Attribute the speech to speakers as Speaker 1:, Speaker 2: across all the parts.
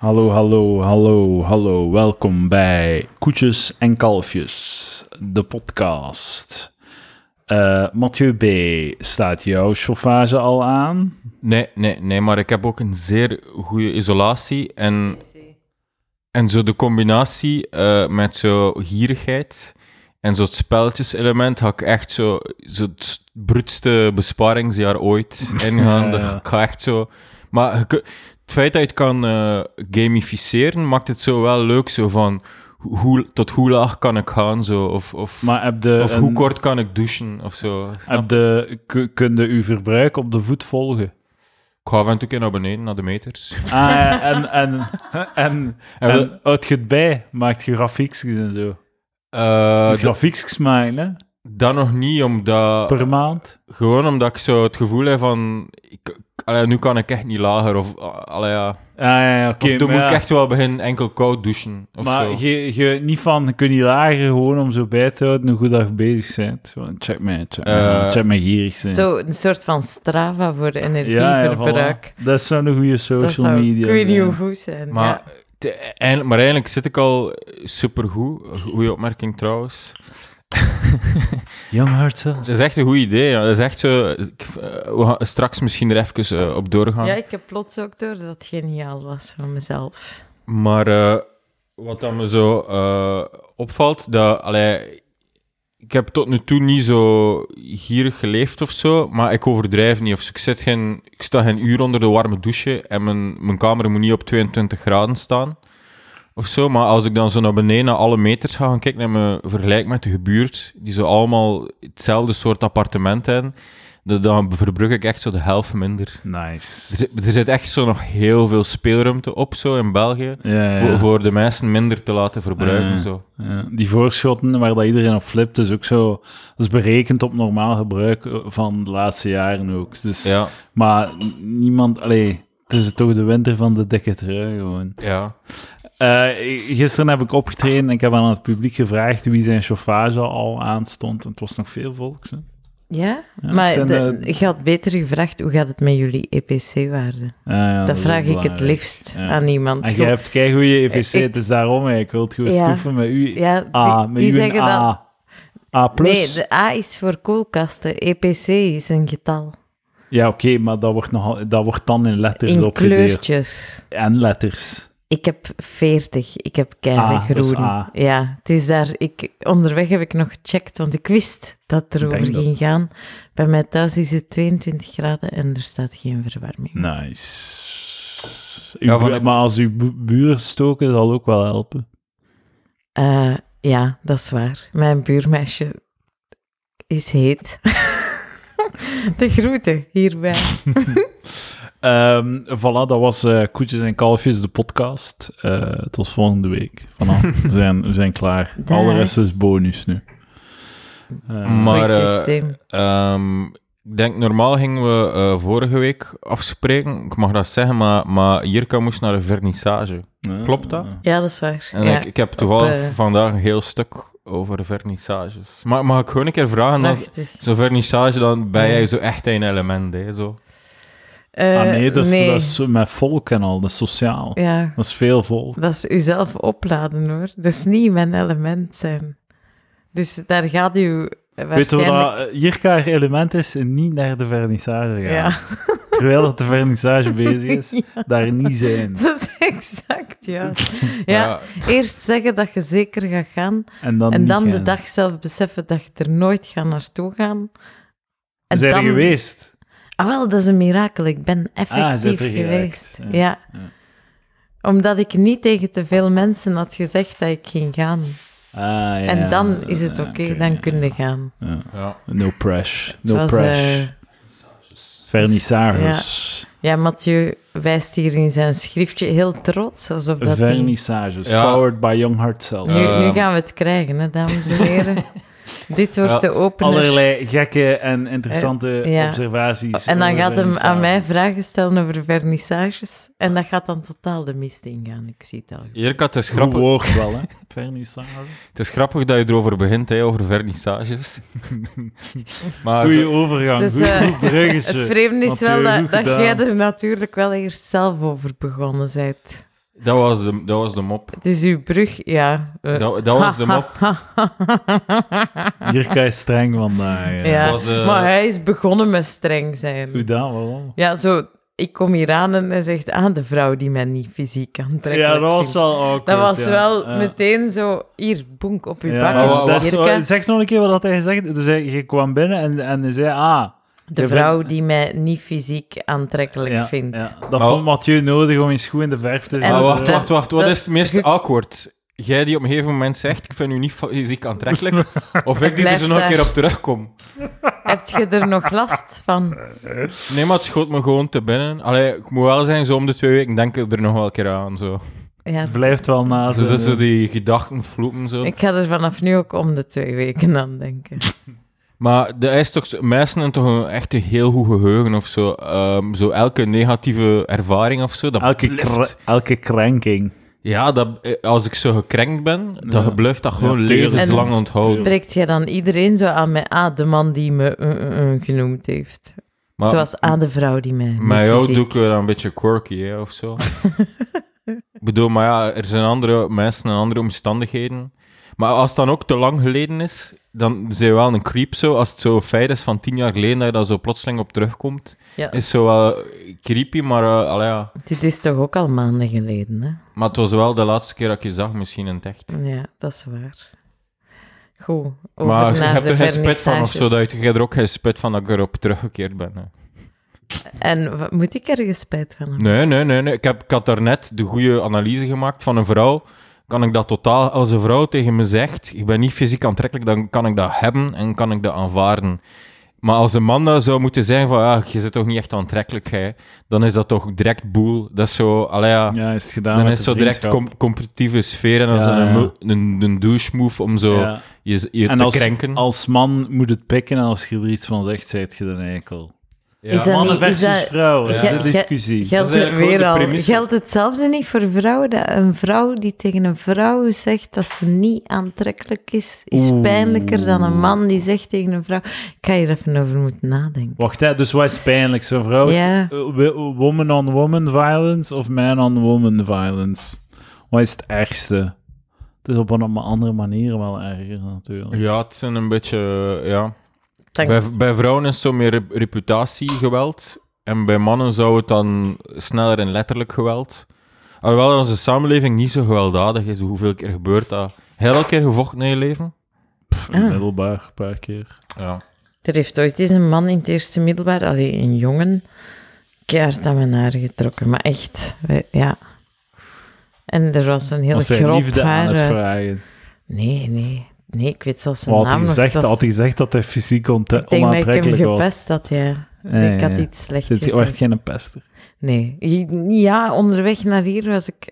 Speaker 1: Hallo, hallo, hallo, hallo. Welkom bij Koetjes en Kalfjes, de podcast. Eh, Mathieu B., staat jouw chauffage al aan?
Speaker 2: Nee, nee, nee, maar ik heb ook een zeer goede isolatie. En, en zo de combinatie eh, met zo gierigheid en zo het spelletjeselement had ik echt zo, zo het bruutste besparingsjaar ooit ingaan. Dat- Ik ga echt zo... Maar je kun- het feit dat je het kan eh, gamificeren, maakt het zo wel leuk. Zo van, ho- hoe, tot hoe laag kan ik gaan? Zo, of of,
Speaker 1: Maar eh, heb de,
Speaker 2: of
Speaker 1: een-
Speaker 2: hoe kort kan ik douchen? Of zo. Snap?
Speaker 1: heb de, k- kun je uw verbruik op de voet volgen?
Speaker 2: Ik ga af en toe een keer naar beneden, naar de meters.
Speaker 1: Ah, en, en, en,
Speaker 2: En wel-
Speaker 1: en houdt je het bij? Maakt je grafiekjes en zo?
Speaker 2: Eh,
Speaker 1: Moet grafiekjes maken, hè?
Speaker 2: Dat nog niet, omdat...
Speaker 1: Per maand?
Speaker 2: Gewoon omdat ik zo het gevoel heb van... Ik, ik- allee, nu kan ik echt niet lager. Of, ah, allee, ja.
Speaker 1: Ah, ja, ja, oké.
Speaker 2: of dan
Speaker 1: maar
Speaker 2: moet ik
Speaker 1: ja.
Speaker 2: echt wel beginnen enkel koud douchen. Of
Speaker 1: maar
Speaker 2: zo.
Speaker 1: je, je niet van, je kunt niet lager gewoon om zo bij te houden een goede dag bezig zijn. Gewoon, check mij, check mij,
Speaker 2: Eh,
Speaker 1: check mij gierig zijn.
Speaker 3: Zo een soort van strava voor
Speaker 1: Ja, ja,
Speaker 3: energieverbruik.
Speaker 1: voilà. Dat zou een goede
Speaker 3: Dat
Speaker 1: social
Speaker 3: zou,
Speaker 1: media
Speaker 3: ik weet niet
Speaker 1: zijn.
Speaker 3: hoe goed zijn.
Speaker 2: maar,
Speaker 3: ja.
Speaker 2: te- eigenlijk, maar eigenlijk zit ik al supergoed. Goeie opmerking trouwens.
Speaker 1: Young Heart Cells.
Speaker 2: Het is echt een goed idee. Ja. Dat is echt zo... ik- eh, we gaan straks misschien er even eh, op doorgaan.
Speaker 3: ja, ik heb plots ook door dat het geniaal was van mezelf.
Speaker 2: Maar eh, wat dat me zo eh, opvalt, dat, allee, ik heb tot nu toe niet zo gierig geleefd of zo, maar ik overdrijf niet. Of zo. ik, zit geen, ik sta geen uur onder de warme douche en mijn, mijn kamer moet niet op 22 graden staan. Of zo, maar als ik dan zo naar beneden naar alle meters ga gaan kijken en me vergelijk met de buurt, die zo allemaal hetzelfde soort appartement hebben, dan- dan verbrug ik echt zo de helft minder.
Speaker 1: Nice.
Speaker 2: Er zit, er zit echt zo nog heel veel speelruimte op zo in België.
Speaker 1: Ja,
Speaker 3: Eh.
Speaker 1: ja,
Speaker 2: Voor, voor de mensen minder te laten verbruiken.
Speaker 3: Mm.
Speaker 1: Eh.
Speaker 2: Zo.
Speaker 1: ja. Die voorschotten waar dat iedereen op flipt, is ook zo... Dat is berekend op normaal gebruik eh, van de laatste jaren ook. Dus,
Speaker 2: Ja,
Speaker 1: Maar n- niemand... Allee, het is toch de winter van de dikke trui gewoon.
Speaker 2: ja.
Speaker 1: Eh, gisteren heb ik opgetreden en ik heb aan het publiek gevraagd wie zijn chauffage al aanstond. En het was nog veel volks. Hè? Eh,
Speaker 3: Ja,
Speaker 1: Ja, het
Speaker 3: maar
Speaker 1: zijn,
Speaker 3: de,
Speaker 1: eh,
Speaker 3: je had beter gevraagd hoe gaat het met jullie EPC-waarde?
Speaker 1: Ah, ja,
Speaker 3: dat
Speaker 1: is
Speaker 3: vraag
Speaker 1: ook
Speaker 3: ik het
Speaker 1: belangrijk.
Speaker 3: liefst
Speaker 1: Ja.
Speaker 3: aan iemand.
Speaker 1: En jij hebt kei E goede EVC,
Speaker 3: Ik-
Speaker 1: het is dus daarom. hè. Ik wil het gewoon
Speaker 3: Ja.
Speaker 1: stoefen met u.
Speaker 3: Ja, die,
Speaker 1: A, met
Speaker 3: die
Speaker 1: u een
Speaker 3: zeggen dan...
Speaker 1: A. A plus.
Speaker 3: Nee, de A is voor koelkasten. EPC is een getal.
Speaker 1: Ja, oké, maar dat wordt, nogal, dat wordt dan in letters
Speaker 3: In
Speaker 1: opgedeeld.
Speaker 3: kleurtjes.
Speaker 1: En letters.
Speaker 3: Ik heb 40. Ik heb
Speaker 1: Ah,
Speaker 3: keihard
Speaker 1: dat is
Speaker 3: roeren.
Speaker 1: A.
Speaker 3: Ja, het is daar. Ik, onderweg heb ik nog gecheckt, want ik wist dat het erover
Speaker 1: denk dat-
Speaker 3: ging gaan. Bij mij thuis is het 22 graden en er staat geen verwarming.
Speaker 1: Nice.
Speaker 2: Ja,
Speaker 1: Uw
Speaker 2: van
Speaker 1: bu-
Speaker 2: ik-
Speaker 1: Maar als uw bu- buren stoken, zal ook wel helpen.
Speaker 3: Eh, ja, dat is waar. Mijn buurmeisje is heet. De groeten hierbij.
Speaker 1: Ehm voilà, dat was eh, Koetjes en Kalfjes, de podcast. Eh, tot volgende week. Vanaf. we, zijn, we zijn klaar.
Speaker 3: Dag.
Speaker 1: Alle rest is bonus nu. Eh,
Speaker 2: Maar,
Speaker 3: Mooi
Speaker 2: eh,
Speaker 3: systeem.
Speaker 2: Ehm, ik denk, normaal gingen we eh, vorige week afspreken. Ik mag dat zeggen, maar, maar Jirka moest naar een vernissage.
Speaker 1: eh,
Speaker 2: klopt dat?
Speaker 3: Ja, dat is waar.
Speaker 2: En
Speaker 3: ja.
Speaker 2: ik, ik heb toevallig
Speaker 3: eh.
Speaker 2: vandaag een heel stuk over vernissages. Maar mag ik gewoon een keer vragen? als-
Speaker 3: Prachtig.
Speaker 2: Zo'n vernissage, dan ben
Speaker 3: Ja.
Speaker 2: jij zo echt een element. Hè, zo.
Speaker 3: Eh,
Speaker 1: ah nee, dat is, dat is met volk en al, dat is sociaal.
Speaker 3: Ja,
Speaker 1: Dat is veel volk.
Speaker 3: Dat is uzelf opladen hoor. Dat is niet mijn element zijn. Dus daar gaat u
Speaker 1: Weet je wat
Speaker 3: waarschijnlijk...
Speaker 1: dat eh, Jirka haar element is? Niet naar de vernissage gaan.
Speaker 3: Ja,
Speaker 1: Terwijl dat de vernissage bezig is,
Speaker 3: Ja.
Speaker 1: daar niet zijn.
Speaker 3: dat is exact, ja. ja. Eerst zeggen dat je zeker gaat gaan.
Speaker 1: En dan,
Speaker 3: en
Speaker 1: niet
Speaker 3: dan de
Speaker 1: gaan.
Speaker 3: dag zelf beseffen dat je er nooit gaat naartoe gaan. En
Speaker 1: zijn er
Speaker 3: dan...
Speaker 1: geweest. Ah,
Speaker 3: Ah wel, dat is een mirakel. Ik ben effectief
Speaker 1: er geraakt,
Speaker 3: geweest.
Speaker 1: ja.
Speaker 3: Ja.
Speaker 1: Ja.
Speaker 3: Omdat ik niet tegen te veel mensen had gezegd dat ik ging gaan.
Speaker 1: Ah, ja,
Speaker 3: en dan is het
Speaker 1: ja,
Speaker 3: oké, dan
Speaker 1: ja,
Speaker 3: kun je
Speaker 1: ja.
Speaker 3: gaan.
Speaker 2: Ja.
Speaker 1: No pressure.
Speaker 3: Het
Speaker 1: No
Speaker 3: was,
Speaker 1: pressure.
Speaker 3: eh,
Speaker 1: Vernissages.
Speaker 3: Ja, Mathieu wijst hier in zijn schriftje heel trots, alsof dat hij... Nu,
Speaker 1: Vernissages.
Speaker 2: Ja.
Speaker 1: Powered by Young Heart Cells.
Speaker 2: Ja.
Speaker 3: nu gaan we het krijgen, hè, dames en heren. Dit wordt
Speaker 2: Ja,
Speaker 3: de opener.
Speaker 1: Allerlei gekke en interessante
Speaker 3: Eh, ja.
Speaker 1: observaties.
Speaker 3: en dan
Speaker 1: over
Speaker 3: gaat hem aan mij
Speaker 1: vernissages.
Speaker 3: vragen stellen over vernissages. En dat gaat dan totaal de mist ingaan, ik zie het al.
Speaker 2: Jirka, het is
Speaker 1: Goed
Speaker 2: grappig.
Speaker 1: woord wel, hè? Vernissage.
Speaker 2: Het is grappig dat je erover begint, hè, over vernissages. maar
Speaker 1: Goeie
Speaker 2: zo-
Speaker 1: overgang.
Speaker 3: Dus,
Speaker 1: goed,
Speaker 3: eh,
Speaker 1: goed bruggetje.
Speaker 3: Het vreemde is
Speaker 1: Mathieu,
Speaker 3: wel dat,
Speaker 1: goed
Speaker 3: dat
Speaker 1: gedaan.
Speaker 3: jij er natuurlijk wel eerst zelf over begonnen bent.
Speaker 2: Dat was de, dat was de mop.
Speaker 3: Het is uw brug, ja. eh,
Speaker 2: Dat, dat was de mop.
Speaker 1: Jirka is streng vandaag. eh.
Speaker 3: ja.
Speaker 2: was, eh,
Speaker 3: Maar hij is begonnen met streng zijn.
Speaker 1: Hoe dan? Waarom?
Speaker 3: Ja, zo, ik kom hier aan en hij zegt, ah, de vrouw die mij niet fysiek aantrekkelijk
Speaker 1: Ja, dat was
Speaker 3: vindt.
Speaker 1: wel awkward,
Speaker 3: Dat was
Speaker 1: ja.
Speaker 3: wel
Speaker 1: Ja.
Speaker 3: meteen zo, hier, boenk, op uw
Speaker 1: Ja,
Speaker 3: bak.
Speaker 2: maar
Speaker 3: is
Speaker 1: dat
Speaker 2: wa-
Speaker 3: het
Speaker 2: wa-
Speaker 1: is-
Speaker 3: circa.
Speaker 1: oh, zeg nog een keer wat hij zegt. Dus hij, je kwam binnen en, en hij zei, ah...
Speaker 3: De
Speaker 1: je
Speaker 3: vrouw
Speaker 1: vindt-
Speaker 3: die mij niet fysiek aantrekkelijk
Speaker 1: ja,
Speaker 3: vindt.
Speaker 1: ja. Dat
Speaker 2: Maar-
Speaker 1: vond Mathieu nodig om in schoen in de verf te zetten.
Speaker 2: Maar Ah, wacht,
Speaker 3: dat-
Speaker 2: wacht, wacht. Wat
Speaker 3: dat-
Speaker 2: is het meest
Speaker 3: ge-
Speaker 2: awkward? Jij die op een gegeven moment zegt, ik vind u niet fysiek aantrekkelijk. Of ik die er
Speaker 3: Blijf
Speaker 2: zo nog een
Speaker 3: daar.
Speaker 2: keer op terugkom.
Speaker 3: Heb je er nog last van?
Speaker 2: Nee, maar het schoot me gewoon te binnen. Allee, ik moet wel zijn, zo om de twee weken denk ik er nog wel een keer aan. Zo.
Speaker 3: Ja,
Speaker 1: Het blijft wel naast.
Speaker 2: Zo, dat zo die gedachten vloepen zo.
Speaker 3: ik ga er vanaf nu ook om de twee weken aan denken.
Speaker 2: Maar de is toch, zo- mensen hebben toch een, echt een heel goed geheugen of zo. Ehm, zo elke negatieve ervaring of zo, dat
Speaker 1: Elke,
Speaker 2: blijft-
Speaker 1: kra- elke krenking.
Speaker 2: Ja, dat, eh, als ik zo gekrenkt ben,
Speaker 1: Ja.
Speaker 2: dat gebluft dat gewoon
Speaker 1: Ja, tuurlijk.
Speaker 2: levenslang
Speaker 3: En-
Speaker 2: onthouden.
Speaker 3: Spreekt jij dan iedereen zo aan mij? Ah, de man die me eh, eh, eh, genoemd heeft.
Speaker 2: Maar
Speaker 3: Zoals aan de vrouw die mij niet
Speaker 2: met jou
Speaker 3: fysiek-
Speaker 2: doe ik wel een beetje quirky, hè, of zo. ik bedoel, maar ja, er zijn andere mensen en andere omstandigheden. Maar als het dan ook te lang geleden is, dan zijn we wel een creep zo. Als het zo feit is van tien jaar geleden dat je daar zo plotseling op terugkomt,
Speaker 3: Ja.
Speaker 2: is zo wel creepy, maar eh, allee, ja.
Speaker 3: Dit is toch ook al maanden geleden, hè?
Speaker 2: Maar het was wel de laatste keer dat ik je zag, misschien in het echt.
Speaker 3: Ja, dat is waar. Goed. Over
Speaker 2: Maar je
Speaker 3: naar
Speaker 2: hebt
Speaker 3: de
Speaker 2: er geen spit van of
Speaker 3: vernissages.
Speaker 2: zo. Dat je, je hebt er ook geen spit van dat ik erop teruggekeerd ben. Hè.
Speaker 3: En wat, moet ik ergens spijt van hebben?
Speaker 2: Nee, nee, nee. nee. Ik, heb, ik had daarnet de goede analyse gemaakt van een vrouw. Kan ik dat totaal, als een vrouw tegen me zegt, ik ben niet fysiek aantrekkelijk, dan kan ik dat hebben en kan ik dat aanvaarden. Maar als een man dat zou moeten zeggen van, ja, je zit toch niet echt aantrekkelijk, hè, dan is dat toch direct boel. Dat is zo, allee, ja,
Speaker 1: Ja, is het gedaan
Speaker 2: dan
Speaker 1: met de
Speaker 2: is zo direct
Speaker 1: vriendschap.
Speaker 2: com- competitieve sfeer en dan is
Speaker 1: Ja,
Speaker 2: dat een,
Speaker 1: ja.
Speaker 2: mo- een, een douche move om zo
Speaker 1: Ja.
Speaker 2: je, je
Speaker 1: En
Speaker 2: te
Speaker 1: als,
Speaker 2: krenken.
Speaker 1: als man moet het pikken en als je er iets van zegt, zijt je de eikel.
Speaker 2: Ja.
Speaker 3: Is dat
Speaker 1: Mannen
Speaker 3: niet- is
Speaker 1: versus
Speaker 3: dat-
Speaker 1: vrouwen,
Speaker 2: Ja.
Speaker 1: de discussie.
Speaker 3: Geldt,
Speaker 2: Dat is
Speaker 3: het
Speaker 2: eigenlijk
Speaker 3: weer
Speaker 2: gewoon de
Speaker 3: al,
Speaker 2: premisse.
Speaker 3: geldt hetzelfde niet voor vrouwen? Dat een vrouw die tegen een vrouw zegt dat ze niet aantrekkelijk is, is
Speaker 1: Oeh.
Speaker 3: pijnlijker dan een man die zegt tegen een vrouw... Ik ga hier even over moeten nadenken.
Speaker 1: Wacht, hè, dus wat is pijnlijk? Zo'n vrouw...
Speaker 3: Ja.
Speaker 1: Eh, wi- Woman on woman violence of man on woman violence? Wat is het ergste? Het is op een andere manier wel erger, natuurlijk.
Speaker 2: ja, het zijn een beetje, eh, ja...
Speaker 3: Dank-
Speaker 2: Bij, bij vrouwen is zo meer rep- reputatiegeweld. En bij mannen zou het dan sneller in letterlijk geweld. Alhoewel onze samenleving niet zo gewelddadig is, hoeveel keer gebeurt dat? Heel elke keer gevochten in je leven?
Speaker 1: Pff,
Speaker 3: Ah.
Speaker 1: Middelbaar, een paar keer.
Speaker 2: Ja.
Speaker 3: Er heeft ooit eens een man in het eerste middelbaar, alleen een jongen, keihard aan mijn haar getrokken. Maar echt, we- ja. En er was een heel
Speaker 1: Als hij
Speaker 3: grof
Speaker 1: liefde
Speaker 3: haar
Speaker 1: aan het
Speaker 3: uit.
Speaker 1: vragen.
Speaker 3: Nee, nee. Nee, ik weet zelfs zijn
Speaker 1: Wat had hij
Speaker 3: naam nog.
Speaker 1: gezegd?
Speaker 3: Het was-
Speaker 1: Had hij gezegd dat hij fysiek onte-
Speaker 3: ik denk dat ik hem
Speaker 1: onaantrekkelijk was?
Speaker 3: gepest had, ja.
Speaker 1: Ja,
Speaker 3: ik
Speaker 1: ja,
Speaker 3: had
Speaker 1: ja.
Speaker 3: iets slecht
Speaker 1: Dit is echt
Speaker 3: gezegd.
Speaker 1: geen pester.
Speaker 3: Nee. Ja, onderweg naar hier was ik...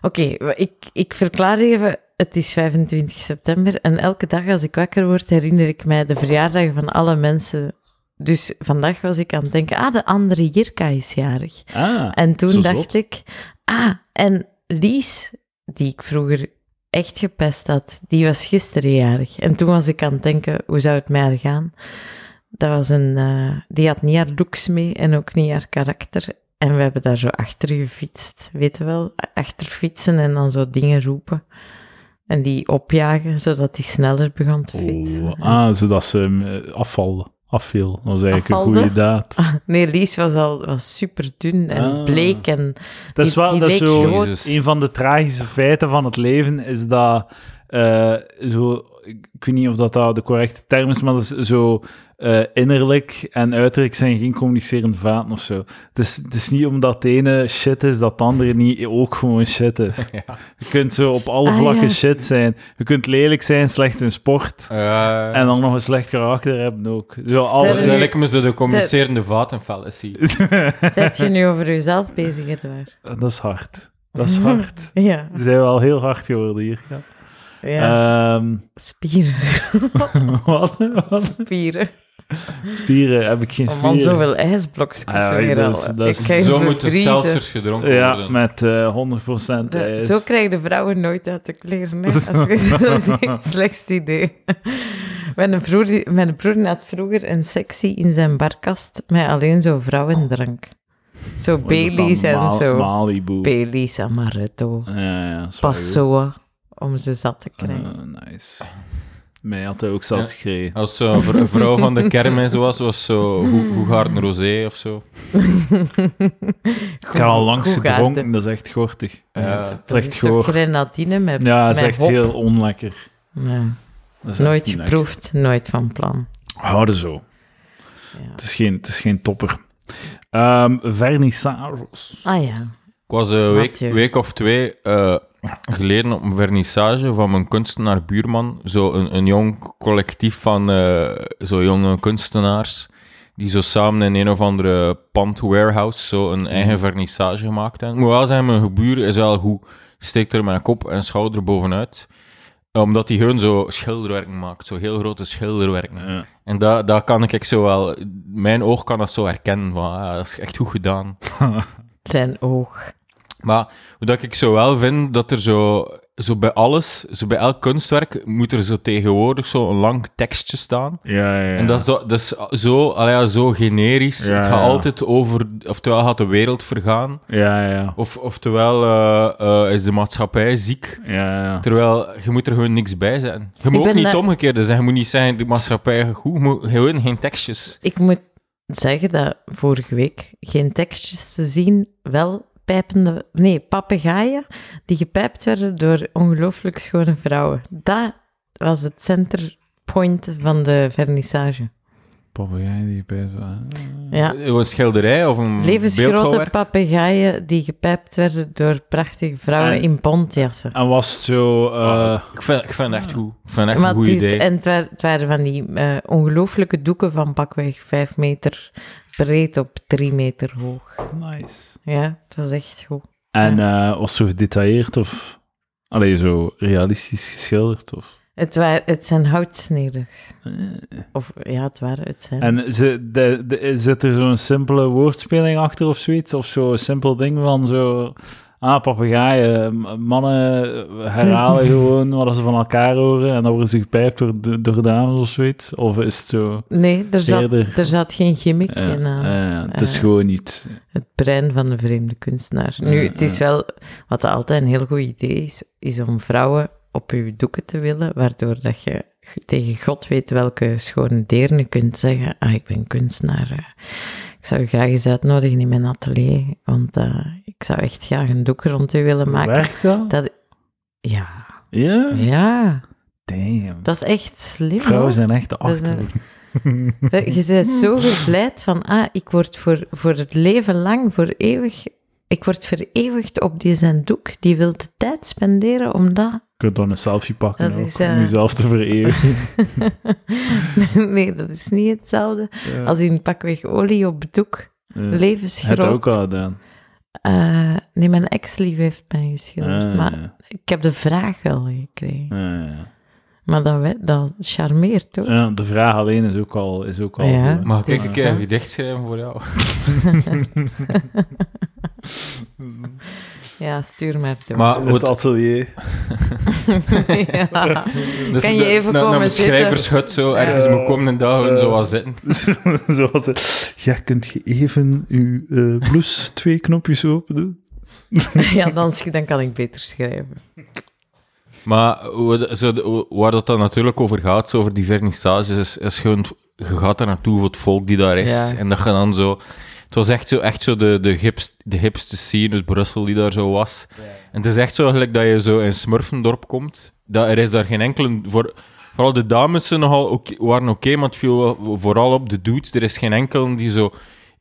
Speaker 3: Oké, ik, ik verklaar even... Het is 25 september en elke dag als ik wakker word herinner ik mij de verjaardagen van alle mensen. Dus vandaag was ik aan het denken, ah, de andere Jirka is jarig.
Speaker 1: Ah,
Speaker 3: En toen
Speaker 2: Zo
Speaker 3: dacht
Speaker 2: zot.
Speaker 3: ik, ah, en Lies, die ik vroeger echt gepest had, die was gisteren jarig. En toen was ik aan het denken, hoe zou het met haar gaan? Dat was een, eh, die had niet haar looks mee en ook niet haar karakter. En we hebben daar zo achter gefietst, weet je wel? A- Achter fietsen en dan zo dingen roepen. En die opjagen, zodat die sneller begon te fietsen.
Speaker 1: oh, ah, zodat ze hem eh, afvalde. Afviel. Dat was eigenlijk
Speaker 3: Afvalde?
Speaker 1: een goede daad.
Speaker 3: Nee, Lies was al was super dun en
Speaker 1: Ah.
Speaker 3: bleek en
Speaker 1: Dat is
Speaker 3: Die-
Speaker 1: wel
Speaker 3: die
Speaker 1: dat is
Speaker 3: leek
Speaker 1: zo
Speaker 3: dood.
Speaker 2: Jezus.
Speaker 1: een van de tragische feiten van het leven is dat eh, zo ik ik weet niet of dat nou de correcte term is, maar dat is zo eh, innerlijk en uiterlijk zijn geen communicerend vaten of zo. Het is, het is niet omdat het ene shit is dat het andere niet ook gewoon shit is. Je kunt zo op alle
Speaker 3: Ah,
Speaker 1: vlakken
Speaker 3: ja.
Speaker 1: shit zijn. Je kunt lelijk zijn, slecht in sport
Speaker 2: Eh,
Speaker 1: en dan nog een slecht karakter hebben ook. Zo
Speaker 3: Zijn er
Speaker 2: dat
Speaker 1: alle,
Speaker 3: nu-
Speaker 2: lijkt me zo de communicerende vatenfallacy.
Speaker 3: Zet je nu over jezelf bezig, Edouard?
Speaker 1: dat is hard. Dat is hard.
Speaker 3: Ja,
Speaker 1: Ze zijn wel heel hard geworden hier. Ja.
Speaker 3: ja.
Speaker 1: Ehm,
Speaker 3: spieren,
Speaker 1: Wat? Wat?
Speaker 3: spieren.
Speaker 1: Spieren? Heb ik geen
Speaker 3: Oh
Speaker 1: spieren?
Speaker 3: man, zoveel ijsblokjes
Speaker 1: Ah, ja,
Speaker 3: weer
Speaker 1: dat is-
Speaker 3: al.
Speaker 1: dat
Speaker 3: Ik
Speaker 1: is-
Speaker 3: ga je
Speaker 2: Zo moeten
Speaker 3: bevriezen.
Speaker 2: seltzers gedronken
Speaker 1: Ja,
Speaker 2: worden.
Speaker 1: met eh 100%
Speaker 3: De-
Speaker 1: ijs.
Speaker 3: Zo krijgen de vrouwen nooit uit de kleren. Hè? Als je, dat is echt het slechtste idee. Mijn broer, die- mijn broer had vroeger een sectie in zijn barkast met alleen zo vrouwendrank. Zo
Speaker 1: Wat Oh, is het
Speaker 3: Baileys
Speaker 1: dan?
Speaker 3: en
Speaker 1: Ma-
Speaker 3: zo.
Speaker 1: Malibu.
Speaker 3: Baileys, Amaretto,
Speaker 1: Ja, ja, sorry.
Speaker 3: Passoa, om ze zat te krijgen.
Speaker 1: Eh, nice. Mij had hij ook zat
Speaker 2: Ja.
Speaker 1: gekregen.
Speaker 2: Als zo een vr- vrouw van de kermis was, was zo Hoegaard een rosé of zo.
Speaker 1: Ik heb al langs
Speaker 3: Goed gaarde.
Speaker 1: gedronken, dat is echt gortig.
Speaker 2: Ja.
Speaker 1: Dat is echt
Speaker 3: is toch
Speaker 1: goor.
Speaker 3: grenadine met...
Speaker 1: Ja, dat is
Speaker 3: Mijn
Speaker 1: echt
Speaker 3: hop.
Speaker 1: heel onlekker.
Speaker 3: Nee,
Speaker 1: Dat is echt
Speaker 3: Nooit
Speaker 1: niet lekker.
Speaker 3: geproefd, nooit van plan.
Speaker 1: Houden zo.
Speaker 3: Ja.
Speaker 1: Het is geen, het is geen topper. Ehm vernissage.
Speaker 3: Ah ja.
Speaker 2: Ik was een week,
Speaker 3: Mathieu.
Speaker 2: week of twee eh, geleden op een vernissage van mijn kunstenaar buurman. Zo een, een jong collectief van eh, zo jonge kunstenaars. Die zo samen in een of andere pand warehouse zo een eigen vernissage gemaakt hebben. Ik Moet wel zeggen, mijn buur is wel goed. Steekt er mijn kop en schouder bovenuit. Omdat hij gewoon zo schilderwerken maakt. Zo heel grote schilderwerken.
Speaker 1: Ja.
Speaker 2: En dat, dat kan ik zo wel... Mijn oog kan dat zo herkennen. Van, ah, dat is echt goed gedaan.
Speaker 3: Zijn oog.
Speaker 2: Maar hoe dat ik zo wel vind, dat er zo, zo bij alles, zo bij elk kunstwerk, moet er zo tegenwoordig zo'n lang tekstje staan.
Speaker 1: Ja, ja, ja.
Speaker 2: En dat is, zo, dat is zo, allee, ja, zo generisch.
Speaker 1: Ja,
Speaker 2: het gaat
Speaker 1: ja.
Speaker 2: altijd over, oftewel gaat de wereld vergaan,
Speaker 1: ja, ja.
Speaker 2: of, oftewel eh, eh, is de maatschappij ziek.
Speaker 1: ja, ja.
Speaker 2: Terwijl je moet er gewoon niks bij zetten. Je
Speaker 3: Ik
Speaker 2: moet ook
Speaker 3: ben,
Speaker 2: niet
Speaker 3: eh,
Speaker 2: het omgekeerde zijn. Je moet niet zeggen, de maatschappij gaat goed. Je moet gewoon geen tekstjes.
Speaker 3: Ik moet zeggen dat vorige week geen tekstjes te zien, wel pijpende... Nee, papegaaien die gepijpt werden door ongelooflijk schone vrouwen. Dat was het centerpoint van de vernissage.
Speaker 1: Papegaai die bij
Speaker 3: Ja.
Speaker 2: Een schilderij of een
Speaker 3: Levensgrote
Speaker 2: beeldhouwwerk.
Speaker 3: papegaaien die gepijpt werden door prachtige vrouwen
Speaker 1: En-
Speaker 3: in bontjassen.
Speaker 1: En was het zo... eh,
Speaker 2: ik, vind, ik vind het echt goed. Ik vind het echt
Speaker 3: Maar
Speaker 2: een goed
Speaker 3: die-
Speaker 2: idee.
Speaker 3: En het wa- het waren van die eh, ongelooflijke doeken van pakweg 5 meter breed op 3 meter hoog.
Speaker 1: Ah, Nice.
Speaker 3: Ja, het was echt goed.
Speaker 1: En eh, was zo gedetailleerd of... Allee, zo realistisch geschilderd of...
Speaker 3: Het, wa- het zijn houtsneders.
Speaker 1: Eh.
Speaker 3: Of ja, het waren het zijn.
Speaker 1: En ze- de- de- zit er zo'n simpele woordspeling achter of zoiets? Of zo'n simpel ding van zo... Ah, papegaaien, m- mannen herhalen gewoon wat ze van elkaar horen en dan worden ze gepijpt door, de- door dames of zoiets? Of is het zo...
Speaker 3: nee, er zat,
Speaker 1: eerder-
Speaker 3: er zat geen gimmick
Speaker 1: Ja,
Speaker 3: in aan.
Speaker 1: ja, het is
Speaker 3: eh,
Speaker 1: gewoon niet...
Speaker 3: Het brein van de vreemde kunstenaar. Nu, het is wel, wat altijd een heel goed idee is, is om vrouwen op je doeken te willen, waardoor dat je g- tegen God weet welke schone deerne kunt zeggen, ah, ik ben kunstenaar. eh. Ik zou u graag eens uitnodigen in mijn atelier, want eh, ik zou echt graag een doek rond u willen maken.
Speaker 1: Werkt dat?
Speaker 3: Dat, ja,
Speaker 1: Ja?
Speaker 3: ja,
Speaker 1: Damn.
Speaker 3: dat is echt slim. hoor.
Speaker 1: Vrouwen zijn echt de
Speaker 3: Dat is
Speaker 1: achter.
Speaker 3: Dat- Je
Speaker 2: Mm.
Speaker 3: bent zo gevleid van, ah, ik word voor, voor het leven lang, voor eeuwig, ik word vereeuwigd op die zijn doek. Die wil de tijd spenderen om dat...
Speaker 1: Je kunt dan een selfie pakken
Speaker 3: Dat
Speaker 1: ook,
Speaker 3: is,
Speaker 1: om
Speaker 3: eh,
Speaker 1: jezelf te vereeuwigen.
Speaker 3: nee, dat is niet hetzelfde
Speaker 1: Ja.
Speaker 3: als in pakweg olie op het doek.
Speaker 1: Ja.
Speaker 3: Levensgroot.
Speaker 1: Het ook al gedaan.
Speaker 3: Eh, nee, mijn ex-lief heeft mij geschilderd,
Speaker 1: Ah,
Speaker 3: maar
Speaker 1: ja.
Speaker 3: ik heb de vraag wel gekregen.
Speaker 1: Ja, ja.
Speaker 3: Maar dat, we- dat charmeert, toch?
Speaker 1: Ja, de vraag alleen is ook al... Is ook al
Speaker 3: Ja.
Speaker 1: goed.
Speaker 2: Mag ik
Speaker 3: Ja.
Speaker 2: een keer een gedicht schrijven voor jou?
Speaker 3: Ja, stuur maar door.
Speaker 2: Maar
Speaker 1: het
Speaker 2: wat,
Speaker 1: atelier.
Speaker 3: Ja.
Speaker 2: dus
Speaker 3: Kan je
Speaker 2: de-
Speaker 3: even
Speaker 2: na- na
Speaker 3: komen
Speaker 2: mijn
Speaker 3: zitten?
Speaker 2: schrijvershut zo, ergens
Speaker 1: Ja.
Speaker 2: mijn komende dagen
Speaker 1: Eh.
Speaker 2: zo wat zitten.
Speaker 1: Zoals het. Ja, kunt je even uw eh blouse twee knopjes open doen?
Speaker 3: ja, dan, sch- dan kan ik beter schrijven.
Speaker 2: Maar wat- zo de- waar dat dan natuurlijk over gaat, zo over die vernissages, is, is gewoon... het- Je gaat daar naartoe voor het volk die daar is.
Speaker 3: Ja.
Speaker 2: En dat je dan zo... Het was echt zo, echt zo de, de, hips, de hipste scene uit Brussel die daar zo was. En het is echt zo gelijk dat je zo in Smurfendorp komt. Dat, er is daar geen enkele... Voor, vooral de dames zijn nogal oké- waren oké, maar het viel wel vooral op de dudes. Er is geen enkele die zo...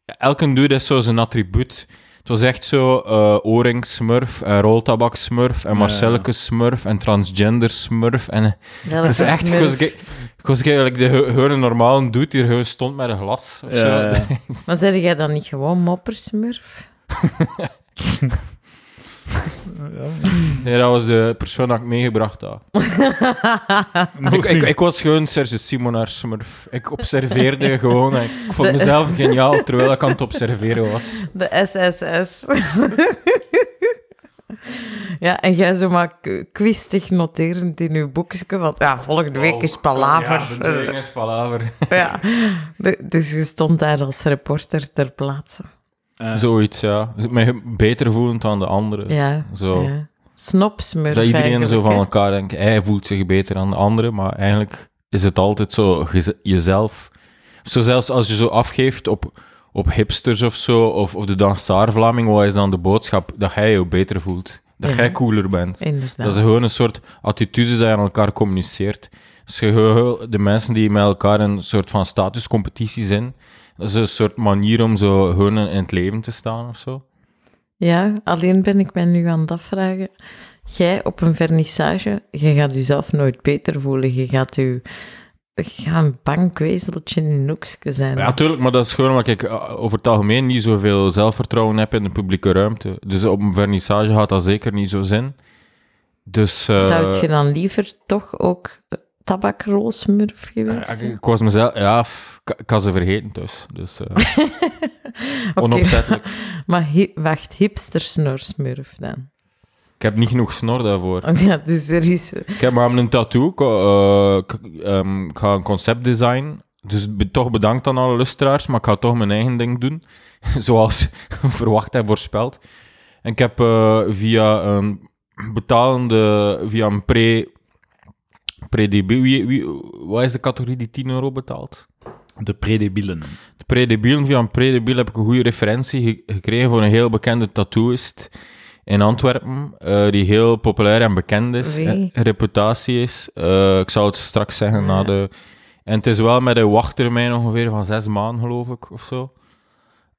Speaker 2: Elke dude is zo zijn attribuut. Het was echt zo eh oorring-smurf, en roltabak-smurf, en Marcelleke-smurf, en transgender-smurf. En
Speaker 3: Dat
Speaker 2: dat is echt... Ik was- ik- ik was eigenlijk de ge- gewoon een normale dude die er gewoon stond met een glas of zo.
Speaker 1: Ja, ja.
Speaker 3: Maar zeg jij dan niet gewoon moppersmurf?
Speaker 2: Nee, dat was de persoon dat ik meegebracht had.
Speaker 3: Ah,
Speaker 2: ik, ik, ik was gewoon Serge Simonaar smurf. Ik observeerde gewoon en ik vond
Speaker 3: De-
Speaker 2: mezelf geniaal terwijl ik aan het observeren was.
Speaker 3: De SSS. ja, en jij zo maar k- kwistig noterend in uw boekje van... Ja, volgende week is
Speaker 2: Oh, Ja,
Speaker 3: palaver.
Speaker 2: de deuring is palaver.
Speaker 3: Ja. De- dus je stond daar als reporter ter plaatse.
Speaker 1: Eh,
Speaker 2: Zoiets, ja. Dus Mij beter voelen dan de anderen.
Speaker 3: Ja.
Speaker 2: Zo.
Speaker 3: ja. Snopsmurf
Speaker 2: Dat iedereen
Speaker 3: eigenlijk,
Speaker 2: zo van
Speaker 3: hè.
Speaker 2: elkaar denkt, hij voelt zich beter dan de anderen, maar eigenlijk is het altijd zo gez- jezelf. Zo zelfs als je zo afgeeft op, op hipsters of zo, of, of de dansaar Vlaming, wat is dan de boodschap? Dat jij je beter voelt. Dat
Speaker 3: Ja.
Speaker 2: jij cooler bent.
Speaker 3: Inderdaad.
Speaker 2: Dat is gewoon een soort attitudes die je aan elkaar communiceert. Dus je hoort de mensen die met elkaar een soort van statuscompetitie zijn, dat is een soort manier om zo gewoon in het leven te staan of zo.
Speaker 3: Ja, alleen ben ik mij nu aan het afvragen. Jij op een vernissage, je gaat jezelf nooit beter voelen. Je gaat, je, je gaat een bang kwezeltje in een hoekje zijn.
Speaker 2: Ja, tuurlijk, maar dat is gewoon omdat ik eh, over het algemeen niet zoveel zelfvertrouwen heb in de publieke ruimte. Dus op een vernissage gaat dat zeker niet zo zijn. Dus... eh,
Speaker 3: Zou je dan liever toch ook tabakroosmurf geweest
Speaker 2: eh, ik,
Speaker 3: zijn?
Speaker 2: ik was mezelf... Ja, f- ik, ik had ze vergeten dus. Dus eh,
Speaker 3: Oké,
Speaker 2: onopzettelijk.
Speaker 3: Maar hi- wacht, hipstersnorsmurf dan.
Speaker 2: Ik heb niet genoeg snor daarvoor.
Speaker 3: Ja, dus er is...
Speaker 2: Ik heb maar een tattoo. Ik, eh, ik, ehm, ik ga een concept design. Dus be- toch bedankt aan alle lustraars, maar ik ga toch mijn eigen ding doen. Zoals verwacht en voorspeld. En ik heb eh, via een betalende, via een pre, pre-debiel. Wie, wie, wat is de categorie die 10 euro betaalt?
Speaker 1: de predebielen.
Speaker 2: De predebielen, via een predebiel heb ik een goede referentie ge- gekregen voor een heel bekende tattooist in Antwerpen, eh, die heel populair en bekend is,
Speaker 3: Wie?
Speaker 2: eh, reputatie is. Eh, ik zou het straks zeggen na de... En het is wel met een wachttermijn ongeveer van zes maanden, geloof ik, of zo.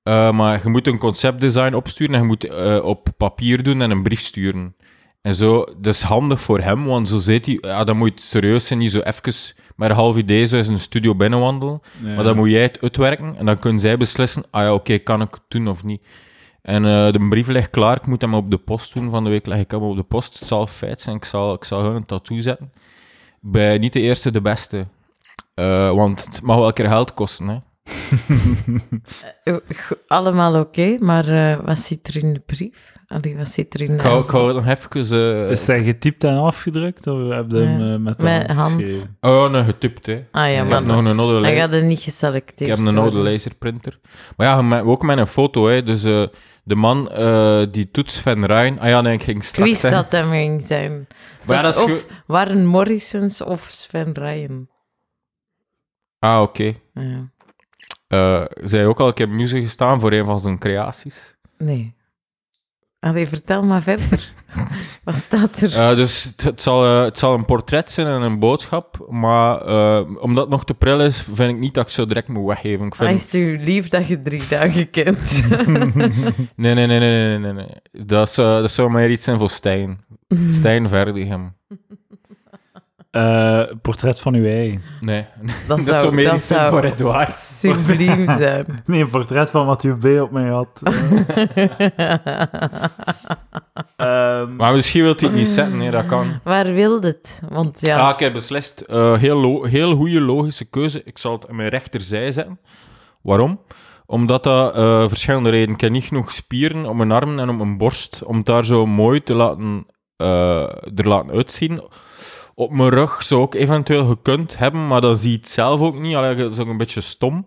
Speaker 2: Eh, maar je moet een conceptdesign opsturen en je moet eh, op papier doen en een brief sturen. En zo, dat is handig voor hem, want zo zit hij... Ja, dan moet je serieus zijn, niet zo even met een half idee zo eens een studio binnenwandelen. Maar dan moet jij het uitwerken en dan kunnen zij beslissen, ah ja, oké, kan ik het doen of niet. En eh, de brief ligt klaar, ik moet hem op de post doen. Van de week leg ik hem op de post. Het zal feit zijn, ik zal, ik zal hun een tattoo zetten. Bij niet de eerste, de beste. Eh, want het mag wel een keer geld kosten, hè.
Speaker 3: eh, go- Allemaal oké, maar eh, wat zit er in de brief? Allee, wat zit er in
Speaker 2: Ik
Speaker 3: de...
Speaker 2: hou, ik hou het nog even... eh,
Speaker 1: Is hij getypt en afgedrukt? Of heb je hem
Speaker 3: Ja.
Speaker 1: eh, met de
Speaker 3: Met
Speaker 1: hand,
Speaker 3: hand.
Speaker 1: geschreven?
Speaker 2: Oh, nee, getypt, hè.
Speaker 3: Ah ja,
Speaker 2: ik
Speaker 3: maar
Speaker 2: heb nog
Speaker 3: dan,
Speaker 2: een andere
Speaker 3: dan
Speaker 2: lijn.
Speaker 3: gaat het niet
Speaker 2: Ik
Speaker 3: geselecteerd
Speaker 2: heb een oude
Speaker 3: worden.
Speaker 2: laserprinter. Maar ja, me- ook met een foto, hè. Dus eh, de man eh, die toets Van Rijn... Ah ja, nee, ik ging
Speaker 3: Ik
Speaker 2: straks
Speaker 3: wist
Speaker 2: zeggen.
Speaker 3: dat hem ging zijn.
Speaker 2: Maar ja,
Speaker 3: Dus
Speaker 2: dat is
Speaker 3: of Warren Morrisons of Sven Ryan.
Speaker 2: Ah, oké.
Speaker 3: Ja.
Speaker 2: Eh, zij ook al een keer op muze gestaan voor een van zijn creaties.
Speaker 3: Nee. Allee, vertel maar verder. Wat staat er?
Speaker 2: Eh, dus het, het zal, eh, het zal een portret zijn en een boodschap. Maar eh, omdat het nog te pril is, vind ik niet dat ik zo direct moet weggeven. Ik
Speaker 3: Hij
Speaker 2: vind...
Speaker 3: is het u lief dat je drie dagen kent.
Speaker 2: Nee, nee, nee, nee, nee, nee. nee. Dat, is, eh, dat zou meer iets zijn voor Stijn.
Speaker 3: Hmm.
Speaker 2: Stijn Verdigem.
Speaker 1: Eh, portret van uw ei.
Speaker 2: Nee.
Speaker 3: Dat
Speaker 2: dat zou
Speaker 3: zou,
Speaker 2: meer
Speaker 3: dat
Speaker 2: iets zijn voor
Speaker 3: zou
Speaker 2: Edouard.
Speaker 3: subliem zijn.
Speaker 1: Nee, een portret van Mathieu B. op mij had. Ehm,
Speaker 2: Maar misschien wilt hij het niet zetten, nee, dat kan.
Speaker 3: Waar wil dit? Want ja,
Speaker 2: Ah, ik heb beslist. Eh, heel, lo- heel goede logische keuze. Ik zal het aan mijn rechterzij zetten. Waarom? Omdat dat eh, verschillende redenen. Ik heb niet genoeg spieren op mijn armen en op mijn borst om het daar zo mooi te laten, eh, er laten uitzien. Op mijn rug zou ik eventueel gekund hebben, maar dan zie je het zelf ook niet. Allee, dat is ook een beetje stom.